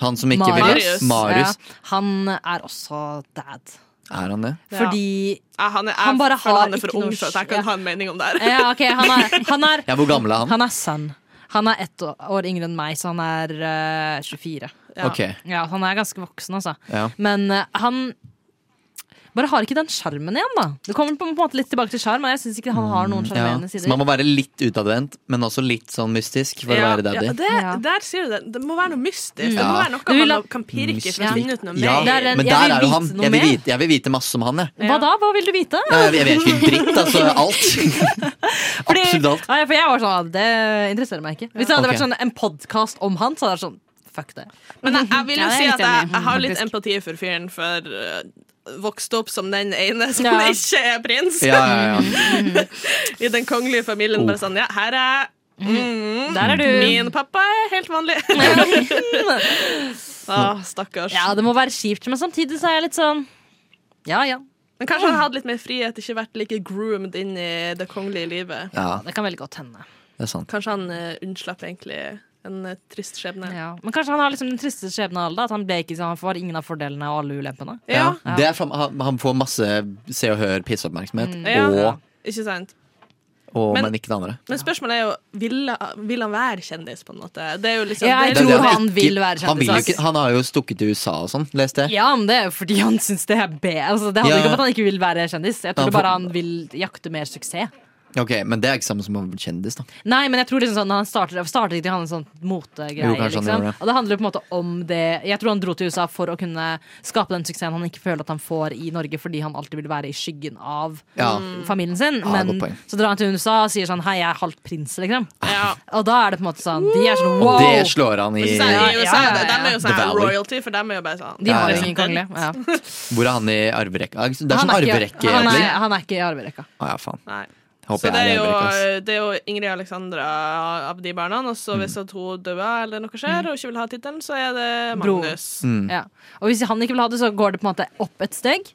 Han som ikke Marius. vil Marius. Ja, han er også dad. Er han det? Fordi ja, Ah, han, er, jeg han bare føler har han er for ikke ung noe til at jeg kan ja. ha en mening om det her. Ja, ok, han er, han er, Ja, hvor gammel er han? Han er sønn. Han er ett år yngre enn meg, så han er eh, 24. Ja. Ok. ja, han er ganske voksen, altså. Ja. Men eh, han bare har ikke den sjarmen igjen, da. Det kommer på en måte litt tilbake til sjarm, og jeg syns ikke han har noen Mm, Ja. sjarmerende Så sider. man må være litt utadvendt, men også litt sånn mystisk for å være daddy. Ja, det, Der sier du det. Det må være noe mystisk. Det Ja. må være noe Du vil man ha- kan pirke for Mystikk. å finne ut noe ja, mer. Det er en- men jeg der vil er jo han. vite noe Jeg vil mer. vite, jeg vil vite masse om han, jeg. Hva da? Hva vil du vite? Nei, Jeg, jeg vet ikke en dritt, altså. Alt. Absolutt alt. Nei, for jeg var sånn, ah, Det interesserer meg ikke. Hvis det hadde Ok. vært sånn en podkast om han, så hadde det vært sånn Fuck det. Men jeg, jeg vil jo Ja, det er si jeg at litt jeg, enig i, jeg har litt faktisk. empati for fyren, for eh, vokste opp som den ene som Ja. ikke er prins. Ja, Oh. ja, I den kongelige familien. Bare sånn, ja, her er mm, Der er du. Min pappa er helt vanlig. ah, stakkars. Ja, det må være kjipt, men samtidig så er jeg litt sånn Ja ja. Men kanskje han hadde litt mer frihet, ikke vært like groomed inn i det kongelige livet. Ja. Det kan veldig godt hende. Det er sant. Kanskje han eh, unnslapp egentlig en eh, trist skjebne. Ja. Men kanskje han har liksom den triste skjebnen av alle. da, At han ble ikke sånn, han får ingen av fordelene og alle ulempene. Ja. Det er fram, han, han får masse se og hør pisseoppmerksomhet, Mm. Ja. og, Ikke sant? og Men- men, ikke det andre. Men spørsmålet er jo, vil, vil han være kjendis, på en måte? Det er jo liksom, Ja, jeg det er Det er tror liksom- det han vil ikke- være han, vil jo kjendis, ikke, ass. han har jo stukket til USA og sånn, leste jeg. Ja, men det er jo fordi han syns det er B. Altså, det handler Ja. ikke om at han ikke vil være kjendis. Jeg tror Han får- bare han vil jakte mer suksess. Ok, Men det er ikke samme som å bli kjendis, da. Nei, men jeg tror liksom sånn, han startet, startet ikke han en sånn Jo, motegreie. Liksom. kanskje han gjorde det. Og det handler jo på en måte om det Jeg tror han dro til USA for å kunne skape den suksessen han ikke føler at han får i Norge, fordi han alltid vil være i skyggen av Ja. familien sin. Ja, men godt poeng. Ah. så drar han til USA og sier sånn Hei, jeg er halvt prins, liksom. Ja. Og da er det på en måte sånn De er sånn wow! Og det slår han i Men så er det i USA, Ja, ja, ja, ja. de er jo sånn The her Valley. royalty, for de er jo bare sånn De har jo Ja, ja. ingen kongelige. Ja. Hvor er han i arverekka? Det er sånn Han ikke- arverekke, han, egentlig. er- han er ikke i arverekka. Å ja, faen. Nei. Så det Håper er, jeg er i arverekka. ass. jo, det er jo Ingrid Alexandra av de barna, og Mm. så hvis at hun dør eller noe Mm. skjer og ikke vil ha tittelen, så er det Bror. Magnus. Mm. Ja. Og hvis han ikke vil ha det, så går det på en måte opp et steg.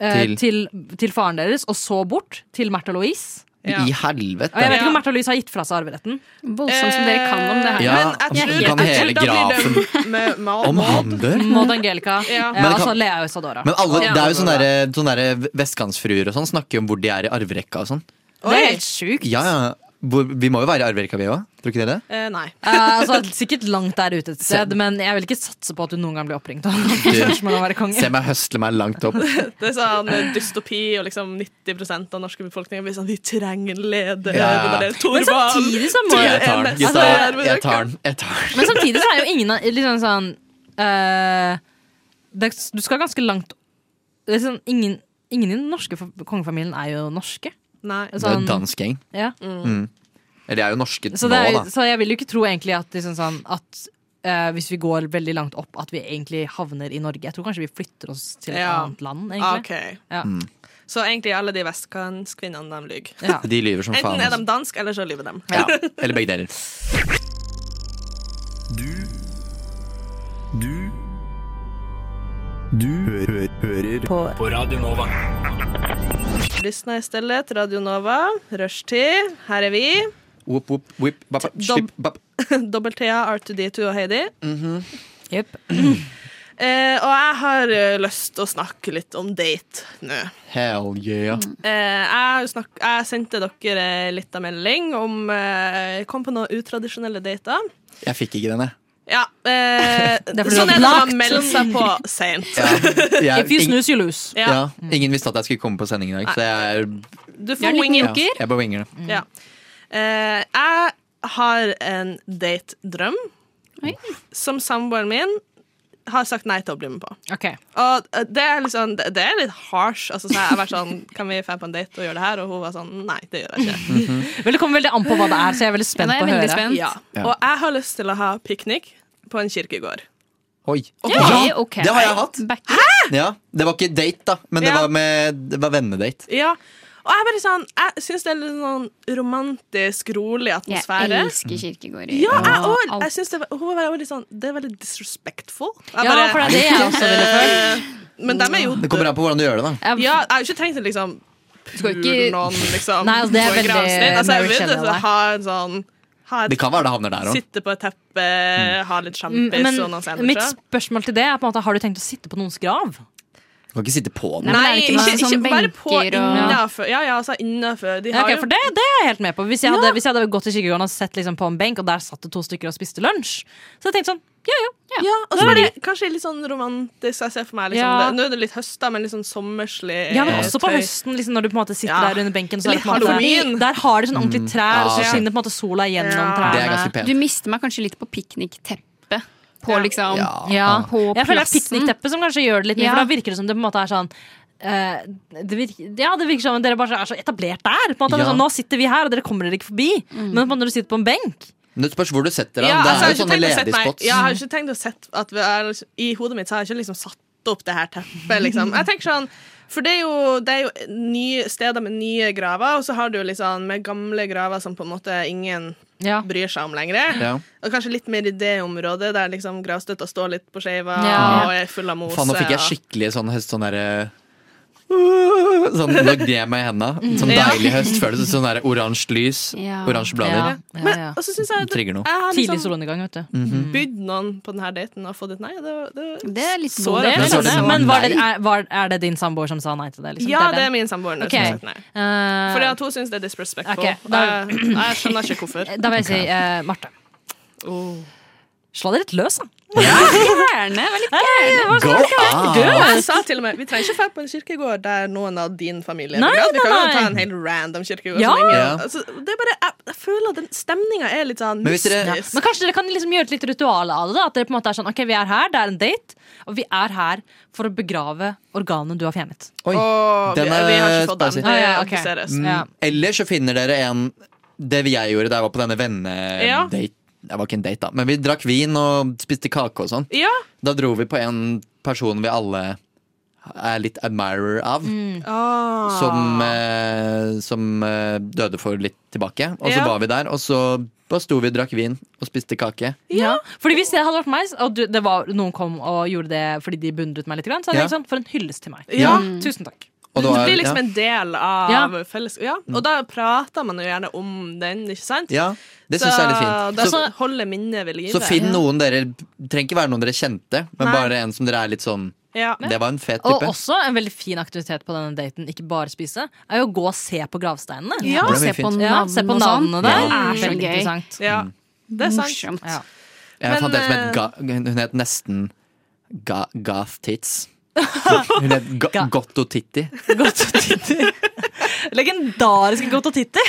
eh, Til? Til, til faren deres, og så bort til Märtha Louise. Ja. Og I jeg helvete! vet ikke om Ja. Märtha Louise har gitt fra seg arveretten. Voldsomt Sånn som dere kan om det her. Ja, Men jeg altså, tror, du kan hele jeg tror da blir det med Maud. Om han dør? Maud Angelica ja. Ja. Men det og så kan- Lea Isadora. Men alle, Ja. det er jo sånn sånne, der, sånne der vestkantsfruer og sånn snakker jo om hvor de er i arverekka og sånn. Det er helt sjukt. Ja, ja. Hvor, vi må jo være i arverekka, vi òg? Tror ikke dere det? Eh, nei. Eh, altså, sikkert langt der ute et sted, men jeg vil ikke satse på at du noen gang blir oppringt. av noen Du- som spørsmål om å være konge. Se meg høsle meg langt opp. Det er sånn eh, dystopi, og liksom 90 av norske befolkningen blir sånn Vi trenger en leder. Ja. Det der, Men Torvald. samtidig så må Jeg tar den, gutta. Altså, Jeg tar den. Jeg tar den. Men samtidig så er jo ingen av- liksom sånn eh, det, Du skal ganske langt det er sånn, ingen, ingen i den norske fa- kongefamilien er jo norske. Nei. Altså, Det er Sånn, en dansk gjeng. ja. Mm. Eller de er jo norske så, nå, det er, da. så jeg vil jo ikke tro egentlig at, liksom sånn, at eh, hvis vi går veldig langt opp, at vi egentlig havner i Norge. Jeg tror kanskje vi flytter oss til et Ja. annet land, Ah, egentlig. ok. Ja. Mm. Så egentlig alle de vestkantskvinnene, de lyver. Ja. De lyver som faen. Enten er de altså. dansk, eller så lyver de. Ja. Eller begge deler. Du Du Du hø hø hører på. på Radio Nova. Lysna i stedet, Radio Nova, rushtid. Her er vi. Whoop, whoop, whip, bap, bap, Dob- slip, bap. Dobbel-Thea, R2D2 og Heidi. Mhm. Eh, og jeg har eh, lyst til å snakke litt om date nå. Hell yeah. Eh, jeg, snak- jeg sendte dere eh, litt av melding om eh, Jeg kom på noen utradisjonelle dater. Jeg fikk ikke denne. Ja, eh, er fordi sånn du er det har når man lagt. sånn melder seg på seint. Jeg- If you ing- snooze, you lose. Ja. Ingen visste at jeg skulle komme på sending i dag, så jeg er Du får wing it. Ja, jeg bare winger det. Ja. Eh, jeg har en date-drøm som samboeren min har sagt nei til å bli med på. Og eh, det er, litt sånn- det det er litt harsh. Altså, så jeg har vært sånn Kan vi dra på en date og gjøre det her? Og hun var sånn Nei, det gjør jeg ikke. Vel, det kommer veldig an på hva det er, så jeg er veldig spent Ja, på å nå er jeg høre. veldig spent. Ja. Og jeg har lyst til å ha piknik på en kirkegård. Oi. Ok, ja, ok. Det har jeg hatt. Ja, det var ikke date, da, men det Ja. var, med- det var vennedate. Ja. Og jeg er bare sånn Jeg syns det er litt sånn romantisk, rolig atmosfære. Jeg elsker kirkegårder. Ja, jeg og òg. alt. Jeg syns det var, hun var veldig sånn Det er veldig disrespectful. Ja, for det er det jeg også ville følt. Men dem er jo Det kommer an på hvordan du gjør det, da. Ja, jeg har jo ikke tenkt å liksom skal pule ikke- noen, liksom. Nei, altså, det er på en veldig gravstein. altså, Mary jeg vil Shelley, altså, det. ha en sånn ha et- Det kan være det havner der òg. Sitte på et teppe, ha litt Mm, sjampis og noen Men mitt sandwicher. spørsmål til det er på en måte, har du tenkt å sitte på noens grav? Du kan ikke sitte på Nei, den. men er det ikke masse sånn benker og- innenfor. Ja, ja, altså innenfor. De har Ok, jo- for det, det er jeg helt med på. Hvis jeg hadde, hvis jeg hadde gått til kirkegården og sett liksom, på en benk, og der satt det to stykker og spiste lunsj, så hadde jeg tenkt sånn ja, ja. Ja, og så var det kanskje litt sånn romantisk. Jeg ser for meg liksom, Ja. det, Nå er det litt høst, da, men litt sånn sommerslig. Ja, men også på Eh, tøy. høsten, liksom, når du på en måte sitter Ja. der under benken. Så er det Litt på en måte, halloween. der har de sånn ordentlig trær, og så Ja. skinner på en måte sola gjennom Ja. trærne. Mm. Det er ganske pent. Du mister meg kanskje litt på piknikteppet. På liksom Ja. På Jeg føler det er plassen. piknikteppet som kanskje gjør det litt mye, Ja. for da virker det som det på en måte er sånn eh, det virker, ja, det virker som om dere bare er så etablert der. På en måte. Det er Ja. Sånn, nå sitter vi her, og dere kommer dere ikke forbi. Men på en måte når du sitter på en benk Men Det spørs hvor du setter deg. Ja, det altså, er jeg jo har ikke sånne tenkt å sette ledige meg- spots. Ja, jeg har ikke tenkt å sette at vi er, altså, I hodet mitt så har jeg ikke liksom satt opp det her teppet, liksom. Jeg tenker sånn for det er jo, det er jo nye steder med nye graver, og så har du jo liksom med gamle graver som på en måte ingen bryr seg om lenger. Ja. Og kanskje litt mer i det området, der liksom gravstøtta står litt på skeiva Ja. og er full av mose. Faen, nå fikk jeg og- skikkelig sånn høst sånn derre Sånn lagde jeg meg i henda. Sånn Mm. Ja. deilig høst. Føles det som sånn derre oransje lys, Ja. oransje blader. Men, altså, og så syns jeg at Trigger noe. jeg har Tidlig liksom solnedgang, vet du. Mhm. bydd noen på denne daten og fått et nei. og Det, det, det er litt Så det Mm. er Men så er det sånn, sånn, Men var det, nei. er, var, er det din samboer som sa nei til det? Liksom? Ja, den? det er min samboer nå som Ok. har sagt nei. Eh, Fordi at hun syns det er disrespectful. Ok, da- jeg, jeg skjønner ikke hvorfor. Da vil jeg si eh, Marte. Oh. Slå dere litt løs, da. Gjerne. Vær litt gæren. Go Jeg out! sa til og med Vi trenger ikke dra på en kirkegård der noen av din familie Nei, er begravet. Vi nei, kan jo nei. ta en helt random kirkegård. Ja. som ingen- Ja. altså, det er bare, jeg, jeg føler at den stemninga er litt sånn Men hvis dere- mystisk. Men kanskje dere kan liksom gjøre et litt ritual av det? da At dere på en måte er sånn, ok, vi er her, det er en date, og vi er her for å begrave organene du har fjernet. Oi, Åh, vi- den er vi har ikke fått den. Det spicy. Ah, ja, ok. appliseres. Mm, Ja. Eller så finner dere en Det jeg gjorde da jeg var på denne Ja. vennedate Det var ikke en date, da, men vi drakk vin og spiste kake og sånn. Ja. Da dro vi på en person vi alle er litt admirer av. Mm. Ah. Som, eh, som eh, døde for litt tilbake. Og så Ja. var vi der, og så bare sto vi og drakk vin og spiste kake. Ja. Fordi hvis det hadde vært meg, og du, det var, noen kom og gjorde det fordi de beundret meg litt, grann, så hadde Ja. jeg tenkt sånn, for en hyllest til meg. Ja. Tusen takk. Og det det var- blir liksom ja. Mm. en del av Ja. felles... Ja. Og da prater man jo gjerne om den, ikke sant? Ja, det syns jeg er litt fint. Da Så- så, holder minnet ved live. Så finn noen dere Trenger ikke være noen dere kjente, men Nei. bare en som dere er litt sånn Ja. Det var en fet Og type. også en veldig fin aktivitet på denne daten, ikke bare spise, er jo å gå og se på gravsteinene. Ja. Det blir se, fint. på ja, se på og sånn. navnene der. Det er så Veldig gøy. interessant. Ja. sånn- Det er sant. Morsomt. Ja. Jeg fant Men, en som het eh, ga, Hun het nesten ga, Goth Tits. Hun het ga, Gotto Titti. Godt og titti. Legendariske Godt og titti.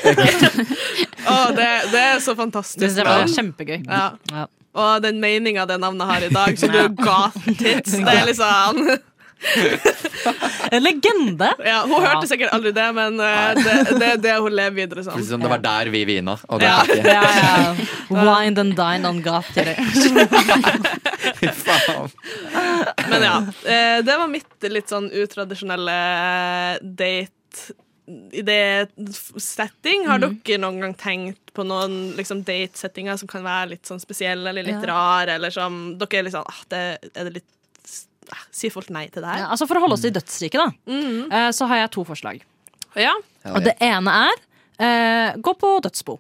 Å, det, det er så fantastisk. Det var kjempegøy. Ja. Ja. Og den meninga det navnet har i dag, som du ga tits, det er liksom En legende. ja, Hun hørte sikkert aldri det, men eh, det det er det, hun lever videre som. Plutselig sånn, Det var der vi vina. Og det Ja. er ikke. Ja, ja. Wind and dine on goth titti. Fy faen. Men ja. eh, Det var mitt litt sånn utradisjonelle eh, date i det f- setting. Har Mm. dere noen gang tenkt på noen liksom, date-settinger som kan være litt sånn spesielle eller litt Ja. rare, eller som dere er litt sånn ah, det, Er det litt ah, Sier folk nei til det her? Ja, altså For å holde oss til dødsriket, da, eh, så har jeg to forslag. Ja. Ja, Og det ene er eh, gå på dødsbo.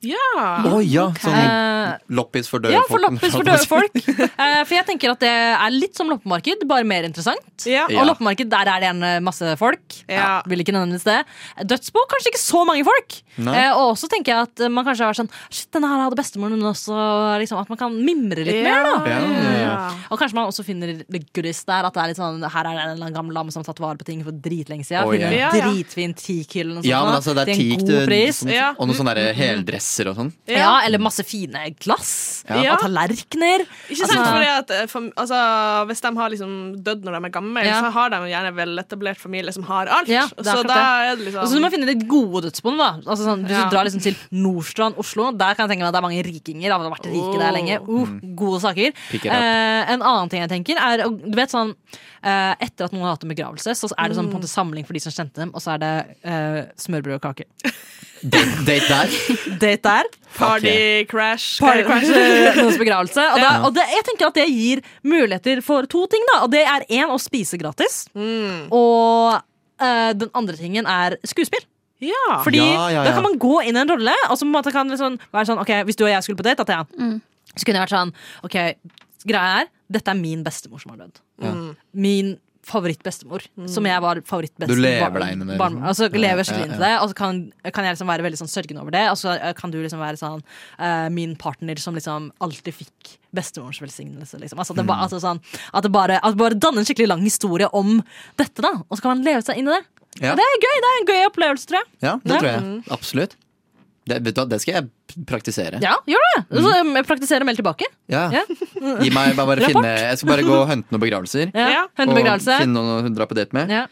Ja. Å ja, sånn Eh, loppis for døde ja, folk. for loppis for døde folk. Eh, for jeg tenker at det er litt som loppemarked, bare mer interessant. Ja. Og loppemarked, der er det gjerne masse folk. Ja. Vil ikke nødvendigvis det. Dødsbo, kanskje ikke så mange folk. Nei. Eh, og også tenker jeg at man kanskje har vært sånn Shit, denne her hadde bestemoren min også. Liksom, at man kan mimre litt Ja. mer, da. Ja, ja, ja. Og kanskje man også finner det goodies der. At det er litt sånn, her er det en eller annen gammel dame som har tatt vare på ting for dritlenge siden. Å, Finner ja. en dritfin teak eller noe sånt. Ja, men da, altså, det er til liksom, en teak god du- pris. sånn- og noen sånne der heldresser og sånn. Ja. eller masse fine glass Ja. og tallerkener. Altså, Ikke sant, fordi at eh, fam- altså, Hvis de har liksom dødd når de er gamle, Ja. så har de jo gjerne veletablert familie som har alt. Ja, det er så akkurat da det. er det liksom Og så må man finne de gode dødsboene. da altså, sånn, Hvis Ja. du drar liksom til Nordstrand, Oslo, der kan jeg tenke meg at det er mange rikinger. da, har vært rike der lenge uh, Gode saker. Pick it up. Eh, en annen ting jeg tenker, er og Du vet sånn eh, Etter at noen har hatt en begravelse, så er det sånn, på Mm. en måte samling for de som kjente dem, og så er det eh, smørbrød og kake. Date date der. Date der. Fuck yeah. Party crash. Party crash eh, noens begravelse. Og, da, Ja. og det, jeg tenker at det gir muligheter for to ting. da Og det er én å spise gratis. Mm. Og eh, den andre tingen er skuespill. Ja. Fordi Ja, ja, ja. da kan man gå inn i en rolle, og så på en måte kan det sånn, være sånn Ok, hvis du og jeg skulle på date, da, Thea, så kunne jeg vært sånn Ok, greia er, dette er min bestemor som har dødd. Ja. Min favorittbestemor, som jeg var favorittbestemor. Du lever deg inn i det, liksom. Altså, Ja, lever skikkelig ja, inn til ja. det, og så kan, kan jeg liksom være veldig sånn sørgende over det. Og så eh, kan du liksom være sånn eh, min partner som liksom alltid fikk bestemorens velsignelse, liksom. Altså, det, ba, Mm. altså sånn, at det bare, at det bare danner en skikkelig lang historie om dette, da. Og så kan man leve seg inn i det. Ja. Det er gøy, det er en gøy opplevelse, tror jeg. Ja, det Ja. Mm. tror jeg. Absolutt. Det, vet du hva, det skal jeg praktisere. Ja, gjør det! Så jeg praktiserer og meld tilbake. Ja. Ja. Gi meg bare, bare Rapport. finne Jeg skal bare gå og hente noen begravelser. Ja, hente og begravelse. finne noen hun drar på date med. Ja.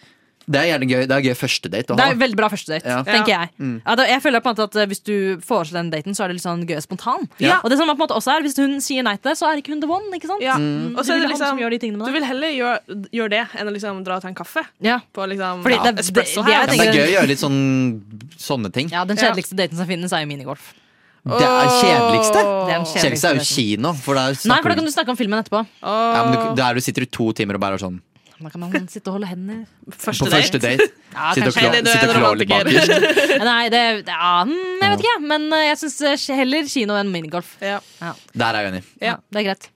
Det er gjerne gøy. Det er gøy første date å Det ha. er jo veldig bra første date, Ah. Ja. tenker jeg. Mm. Ja, da, jeg føler på en måte at eh, Hvis du foreslår den daten, så er det litt sånn gøy og spontan. Ja. Og det som er på en måte også er, Hvis hun sier nei til det, så er ikke hun the one. ikke sant? Ja. Mm. Og Du så er vil det ha han liksom, som gjør de tingene med du vil heller gjøre gjør det enn å liksom dra og ta en kaffe. Ja. På liksom Fordi ja, det- espresso her. det- det- Ja, men det er gøy å gjøre litt sånn sånne ting. Ja, Den kjedeligste daten som finnes, er jo minigolf. Det er Det kjedeligste. er den kjedeligste Kjedeligste er jo daten. kino. For der Nei, for da kan snakker du du snakke om filmen etterpå. ja, men du, Der du sitter i to timer og bare er sånn Da kan man sitte og holde hender. På første date. Ja, sitter og kanskje. klå- sitter og klår litt bakerst. Nei, det ja, mm, Jeg vet ikke, jeg. men eh, jeg syns heller kino enn minigolf. Ja. Der er jeg enig. Ja, det er greit.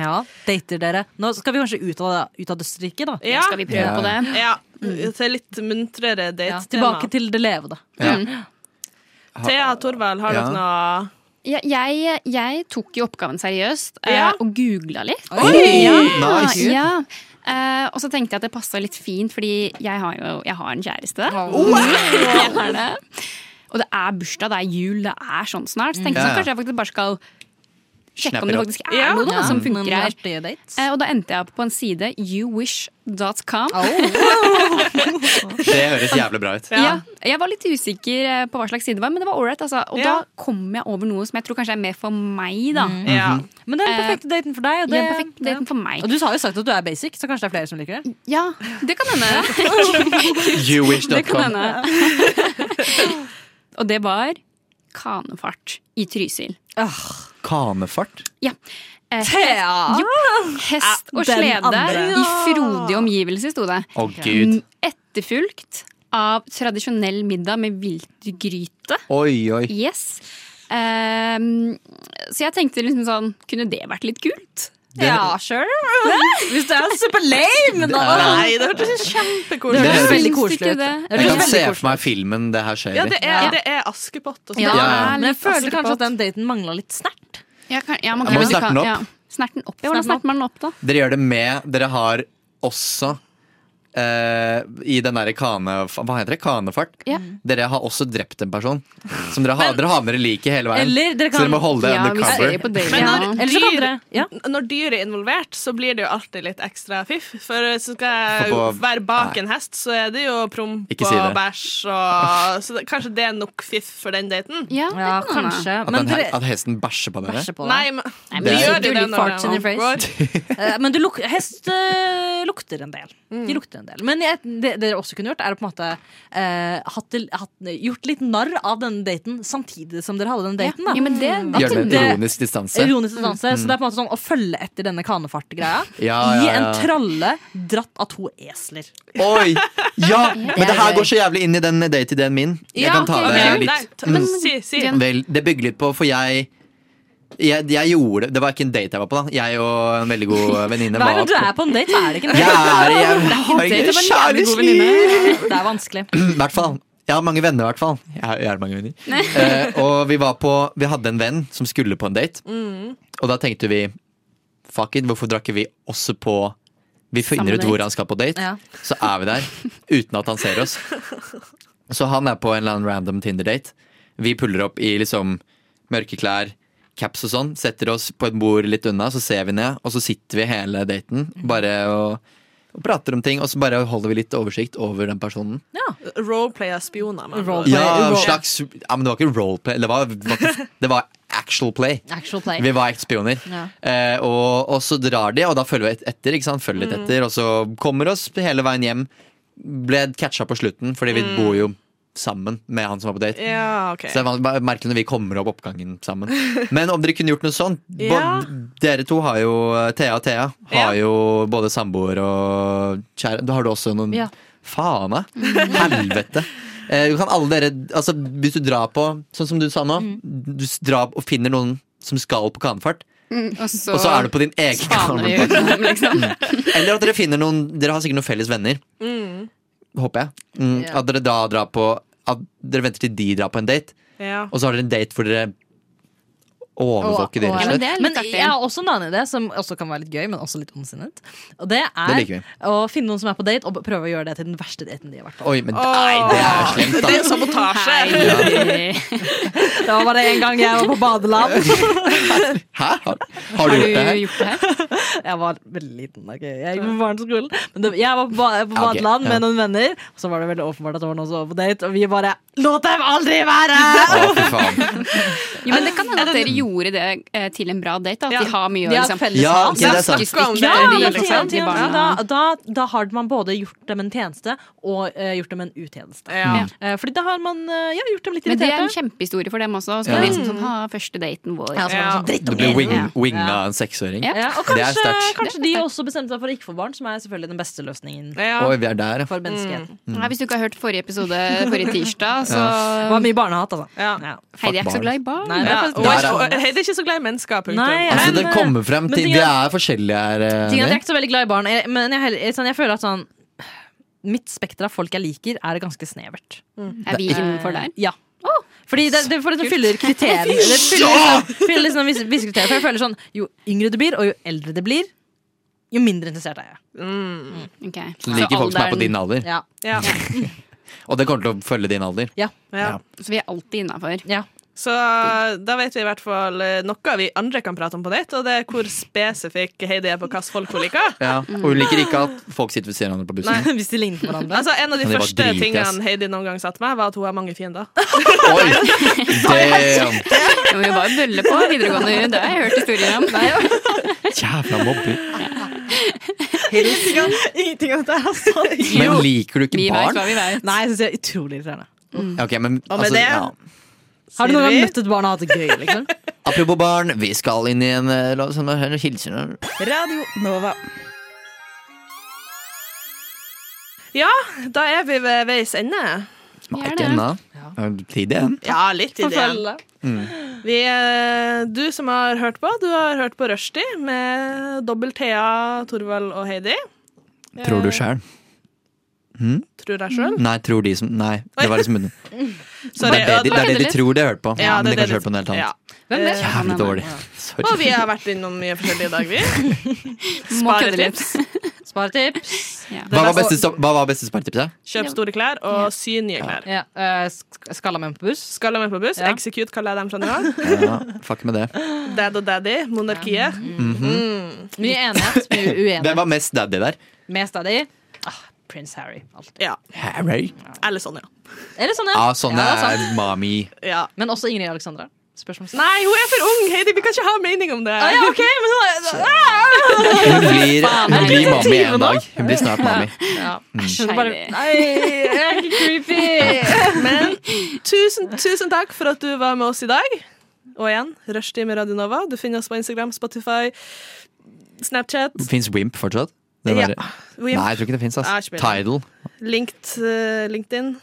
Ja, dater dere. Nå skal vi kanskje ut av, ut av dødsriket, da. Ja. Ja. Til litt muntrere Ja, date-tema. tilbake til det levede. Ja. Thea Torvald, har Ja. dere noe Ja, jeg, jeg tok jo oppgaven seriøst eh, Ja. og googla litt. Oi! Ja, Nice. ja. Eh, og så tenkte jeg at det passa litt fint, fordi jeg har jo jeg har en kjæreste. Wow! Jeg har det. Og det er bursdag, det er jul, det er sånn snart. Så tenkte jeg Ja. sånn, kanskje jeg faktisk bare skal sjekke Snapper om det opp. faktisk er Ja. noe da, Ja. som Noen funker her. artige Eh, og da endte jeg opp på en side youwish.com. Det høres jævlig bra ut. Ja. Jeg var litt usikker eh, på hva slags side det var, men det var ålreit. Altså. Og da kom jeg over noe som jeg tror kanskje er mer for meg, da. Ja. Men det er den Eh, perfekte daten for deg. det Og, det, er den perfekte daten for meg. Mm. og du har jo sagt at du er basic, så kanskje det er flere som liker det? Ja, det kan hende. det kan Youwish.com. hende. Og det var kanefart i Trysil. Kanefart. Ja. Eh, Thea! jo, hest og Den slede andre. i frodige omgivelser, sto det. Å, Mm, Gud. Etterfulgt av tradisjonell middag med viltgryte. Oi, oi. Yes. Ehm, så jeg tenkte liksom sånn Kunne det vært litt kult? Det- Ja, sure. Hvis det er super lame! da. Det er- Nei, det hørtes Det kjempekoselig Det høres høres veldig koselig ut. Det Jeg kan veldig se for meg filmen det her skjer Ja, i. det er, det er Askepott og sånn. Ja, Ja, ja. Men jeg litt føler askepott. kanskje at den daten mangla litt snert. Jeg kan, ja, man Jeg må kan, snerte den opp. Ja. Snerte den opp. Ja, hvordan Snerte den snerter man den opp, da? Dere gjør det med Dere har også eh, I den derre kane... Hva heter det? Kanefart? Ja. Dere har også drept en person. Som dere har, dere har med dere liket hele veien. Eller dere så kan- dere må holde det Ja, vi ser jo på undercover. det. Men når, Eller så kan dyr, dere- ja. når dyr er involvert, så blir det jo alltid litt ekstra fiff. For så skal jeg For på- være bak nei. en hest, så er det jo promp Ikke si og det. bæsj og Så det, kanskje det er nok fiff for den daten? Ja, Ja, kanskje. At, Men den, her- dere at hesten bæsjer på dere. bæsjer på Nei, deg. men men de det gjør sitter jo det jo litt når farts in de your går. Mm. Eh, Men du luk hest eh, lukter en del. De lukter en del. Men jeg, det dere også kunne gjort, er å på en måte eh, hatt, det- hatt, gjort litt narr av denne daten samtidig som dere hadde den daten. Da. Ja, men det- At Gjør det med det- ironisk distanse. Ironisk distanse. Mm. Så det er på en måte sånn å følge etter denne kanefart-greia Ja, i ja, en ja. tralle dratt av to esler. Oi! Ja, men det her gøy. går så jævlig inn i den date-ideen min. Jeg Ja, kan ta ok, det ok. Nei, litt. Mm, ta- men si- si. Vel, det bygger litt på, for jeg jeg, jeg gjorde, Det var ikke en date jeg var på, da. Jeg og en veldig god venninne Hver var gang du er på en date, så er det ikke en Jeg er- jeg Det er ikke har en date, ikke det var en jævlig god kjæreste. venninne. Det er vanskelig. I hvert fall. Jeg har mange venner, i hvert fall. Jeg har, jeg har mange venner. Eh, og vi, var på, vi hadde en venn som skulle på en date, Mm. og da tenkte vi Fuck it, hvorfor drar ikke vi også på Vi Samme finner ut date. hvor han skal på date, Ja. så er vi der uten at han ser oss. Så han er på en eller annen random Tinder-date. Vi puller opp i liksom mørke klær, caps og sånn. Setter oss på et bord litt unna, så ser vi ned, og så sitter vi hele daten Mm. bare og, og prater om ting. Og så bare holder vi litt oversikt over den personen. Roleplay er spioner. med andre ord. Ja, en slags ja, Men det var ikke roleplay, det var, det var actual play. Actual play. Vi var spioner. Ja. Eh, og, og så drar de, og da følger vi et- etter, ikke sant? Følger litt Mm. Mhm. etter, og så kommer oss hele veien hjem. Ble catcha på slutten, fordi vi Mm. bor jo sammen med han som var på date. Ja, ok. Så det er van- bare merker når vi kommer opp oppgangen sammen. Men om dere kunne gjort noe sånt bo- Ja. Dere to har jo Thea og Thea har jo både samboer og kjære Da har du også noen Ja. Faen, da! Helvete! Eh, du kan alle dere, altså, hvis du drar på, sånn som du sa nå, Mm. du s- drar og finner noen som skal på kanefart, og, så og så er du på din egen spaner vi ut kanefart. dem, liksom. Eller at dere finner noen Dere har sikkert noen felles venner, Mm. håper jeg. Mm, Ja. At dere da drar på At dere venter til de drar på en date, Ja. og så har dere en date hvor dere overvåker dere. rett og slett. Men jeg har også en annen idé som også kan være litt gøy, men også litt ondsinnet. Og det er Det liker vi. å finne noen som er på date, og prøve å gjøre det til den verste daten de har vært på. Oi, men nei, det er jo slemt, da. Det er sabotasje. Det var bare en gang jeg var på badeland. Hæ? Har, har du gjort det her? Jeg var veldig liten. ok. Jeg gikk på barneskolen. Men det, jeg var på, ba på Ja, ok, badeland ja. med noen venner, og så var det veldig åpenbart at det var noen som var på date, og vi bare Låt dem aldri være! Å, fy faen. Jo, men det kan hende at dere gjorde det eh, til en bra date. da, At de har mye å Ja, liksom felles Ja, ok, det er sant. snakkes ikke, Ja, de, men liksom, de ja, barna. da, da, da har man både gjort dem en tjeneste og eh, gjort dem en utjeneste. Ja. Eh, fordi da har man eh, ja, gjort dem litt Men det irriterte. er en kjempehistorie for dem også. Så Ja. blir det liksom sånn, ha, første daten vår. Ja, så var det sånn, dritt Du om ble dere. wing, Ja. winga av en seksåring. Ja, og Det er kanskje, sterkt. kanskje de også bestemte seg for å ikke få barn, som er selvfølgelig den beste løsningen Oi, vi er der, ja. for menneskeheten. Mm. Nei, hvis du ikke har hørt forrige episode forrige tirsdag, så Det var mye barnehat, altså. Ja. Heidi er ikke så glad i barn. Nei, det Ja, er og faktisk- Der er- og Heidi er ikke så glad i mennesker. punktum. Nei, Altså, men- det kommer frem men til ting Vi er- er forskjellige her. eh, Ting er at jeg Nil. er ikke så veldig glad i barn, jeg, men jeg, heller- sånn, jeg føler at sånn Mitt spekter av folk jeg liker, er ganske snevert. Eh, Er vi innenfor der? Ja. Fordi det, det, for det fyller kriteriene Det fyller liksom, fyller liksom visse, visse kriterier. For jeg føler sånn, Jo yngre du blir, og jo eldre det blir, jo mindre interessert er jeg. Ok. Så du liker folk som er på alderen- din alder. Ja. Ja. Og det kommer til å følge din alder. Ja. Ja. Så vi er alltid innafor. ja. Så da vet vi i hvert fall eh, noe vi andre kan prate om på date, og det er hvor spesifikk Heidi er på hvilke folk hun liker. Ja. Mm. Og hun liker ikke at folk sitter ved siden av hverandre på bussen. Hvis de ligner på hverandre. Altså, en av de Men det var første drit, ass. tingene Heidi noen gang sa til meg, var at hun har mange fiender. Oi! Damn! Ja, men vi var bølle på videregående, det har jeg hørt historier om. Jævla mobbing. Ingenting av dette er sant. Men liker du Vi vet ikke hva barn? vi vet. Nei, jeg syns jeg er utrolig irriterende. Ok, men Og med altså, det ja. Har du noen gang Silvi? møtt et barn og hatt det gøy? liksom? Apropos barn, vi skal inn i en eh, La oss høre noen hilsener. Radio Nova. Ja, da er vi ved veis ende. Vi er Ikke det. ennå. Er det Tid igjen. Ja, litt i det. igjen. Mm. Vi, eh, du som har hørt på, du har hørt på Rushdie med dobbelt Thea, Torvald og Heidi. Tror du sjæl? Hm? Tror jeg sjøl. Nei, tror de som Nei, det var liksom Sorry, det, er det, de, det er det de litt. tror de har hørt på. Ja, men det er det de kanskje de- hørt på noe helt annet. Ja. Hvem vet? Jævlig dårlig. Og vi Sorry. har vært innom mye forskjellig i dag, vi. Må kødde litt. Sparetips. Sparetips. Ja. Hva var beste, hva var beste spartipset? Kjøp store klær og sy nye klær. Ja, eh, sk- Skalla menn på buss. Skal jeg med på buss? Ja. Execute kaller jeg dem fra nå av. Ja, fuck med det. Dad og daddy, monarkiet. mm. Mhm. Mye enighet, mye Hvem uenighet. var mest daddy der? Mest av de ah, Prince Harry. Alltid. Ja. Harry? Eller sånn, ja. Eller sånn, ja. Ja, sånne Ja, det er sant. er mami. ja. Men også Ingrid Alexandra. Spørsmål. Nei, hun er for ung! Heidi, vi kan ikke ha mening om det. Ah, ja, ok, men hun er... Hun blir, Faen, hun er det blir mami tidlig en nå? dag. Hun blir snart mami. Ja. Mm. Hun bare, Nei, jeg er ikke creepy! Men tusen, tusen takk for at du var med oss i dag. Og igjen, rushtid med Radio Nova. Du finner oss på Instagram, Spotify, Snapchat, Fins Wimp fortsatt? Det Ja, der- Wimp. Nei, jeg tror ikke det fins. Nei, ass. ikke mer. Tidal. Linked, eh, LinkedIn.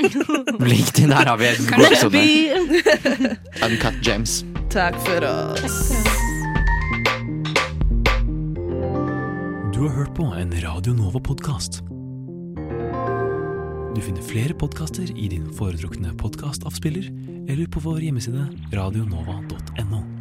LinkedIn, der har vi et voksen Uncut Gems. Takk for oss. Du har hørt på en Radio Nova-podkast. Du finner flere podkaster i din foretrukne podkastavspiller eller på vår hjemmeside radionova.no.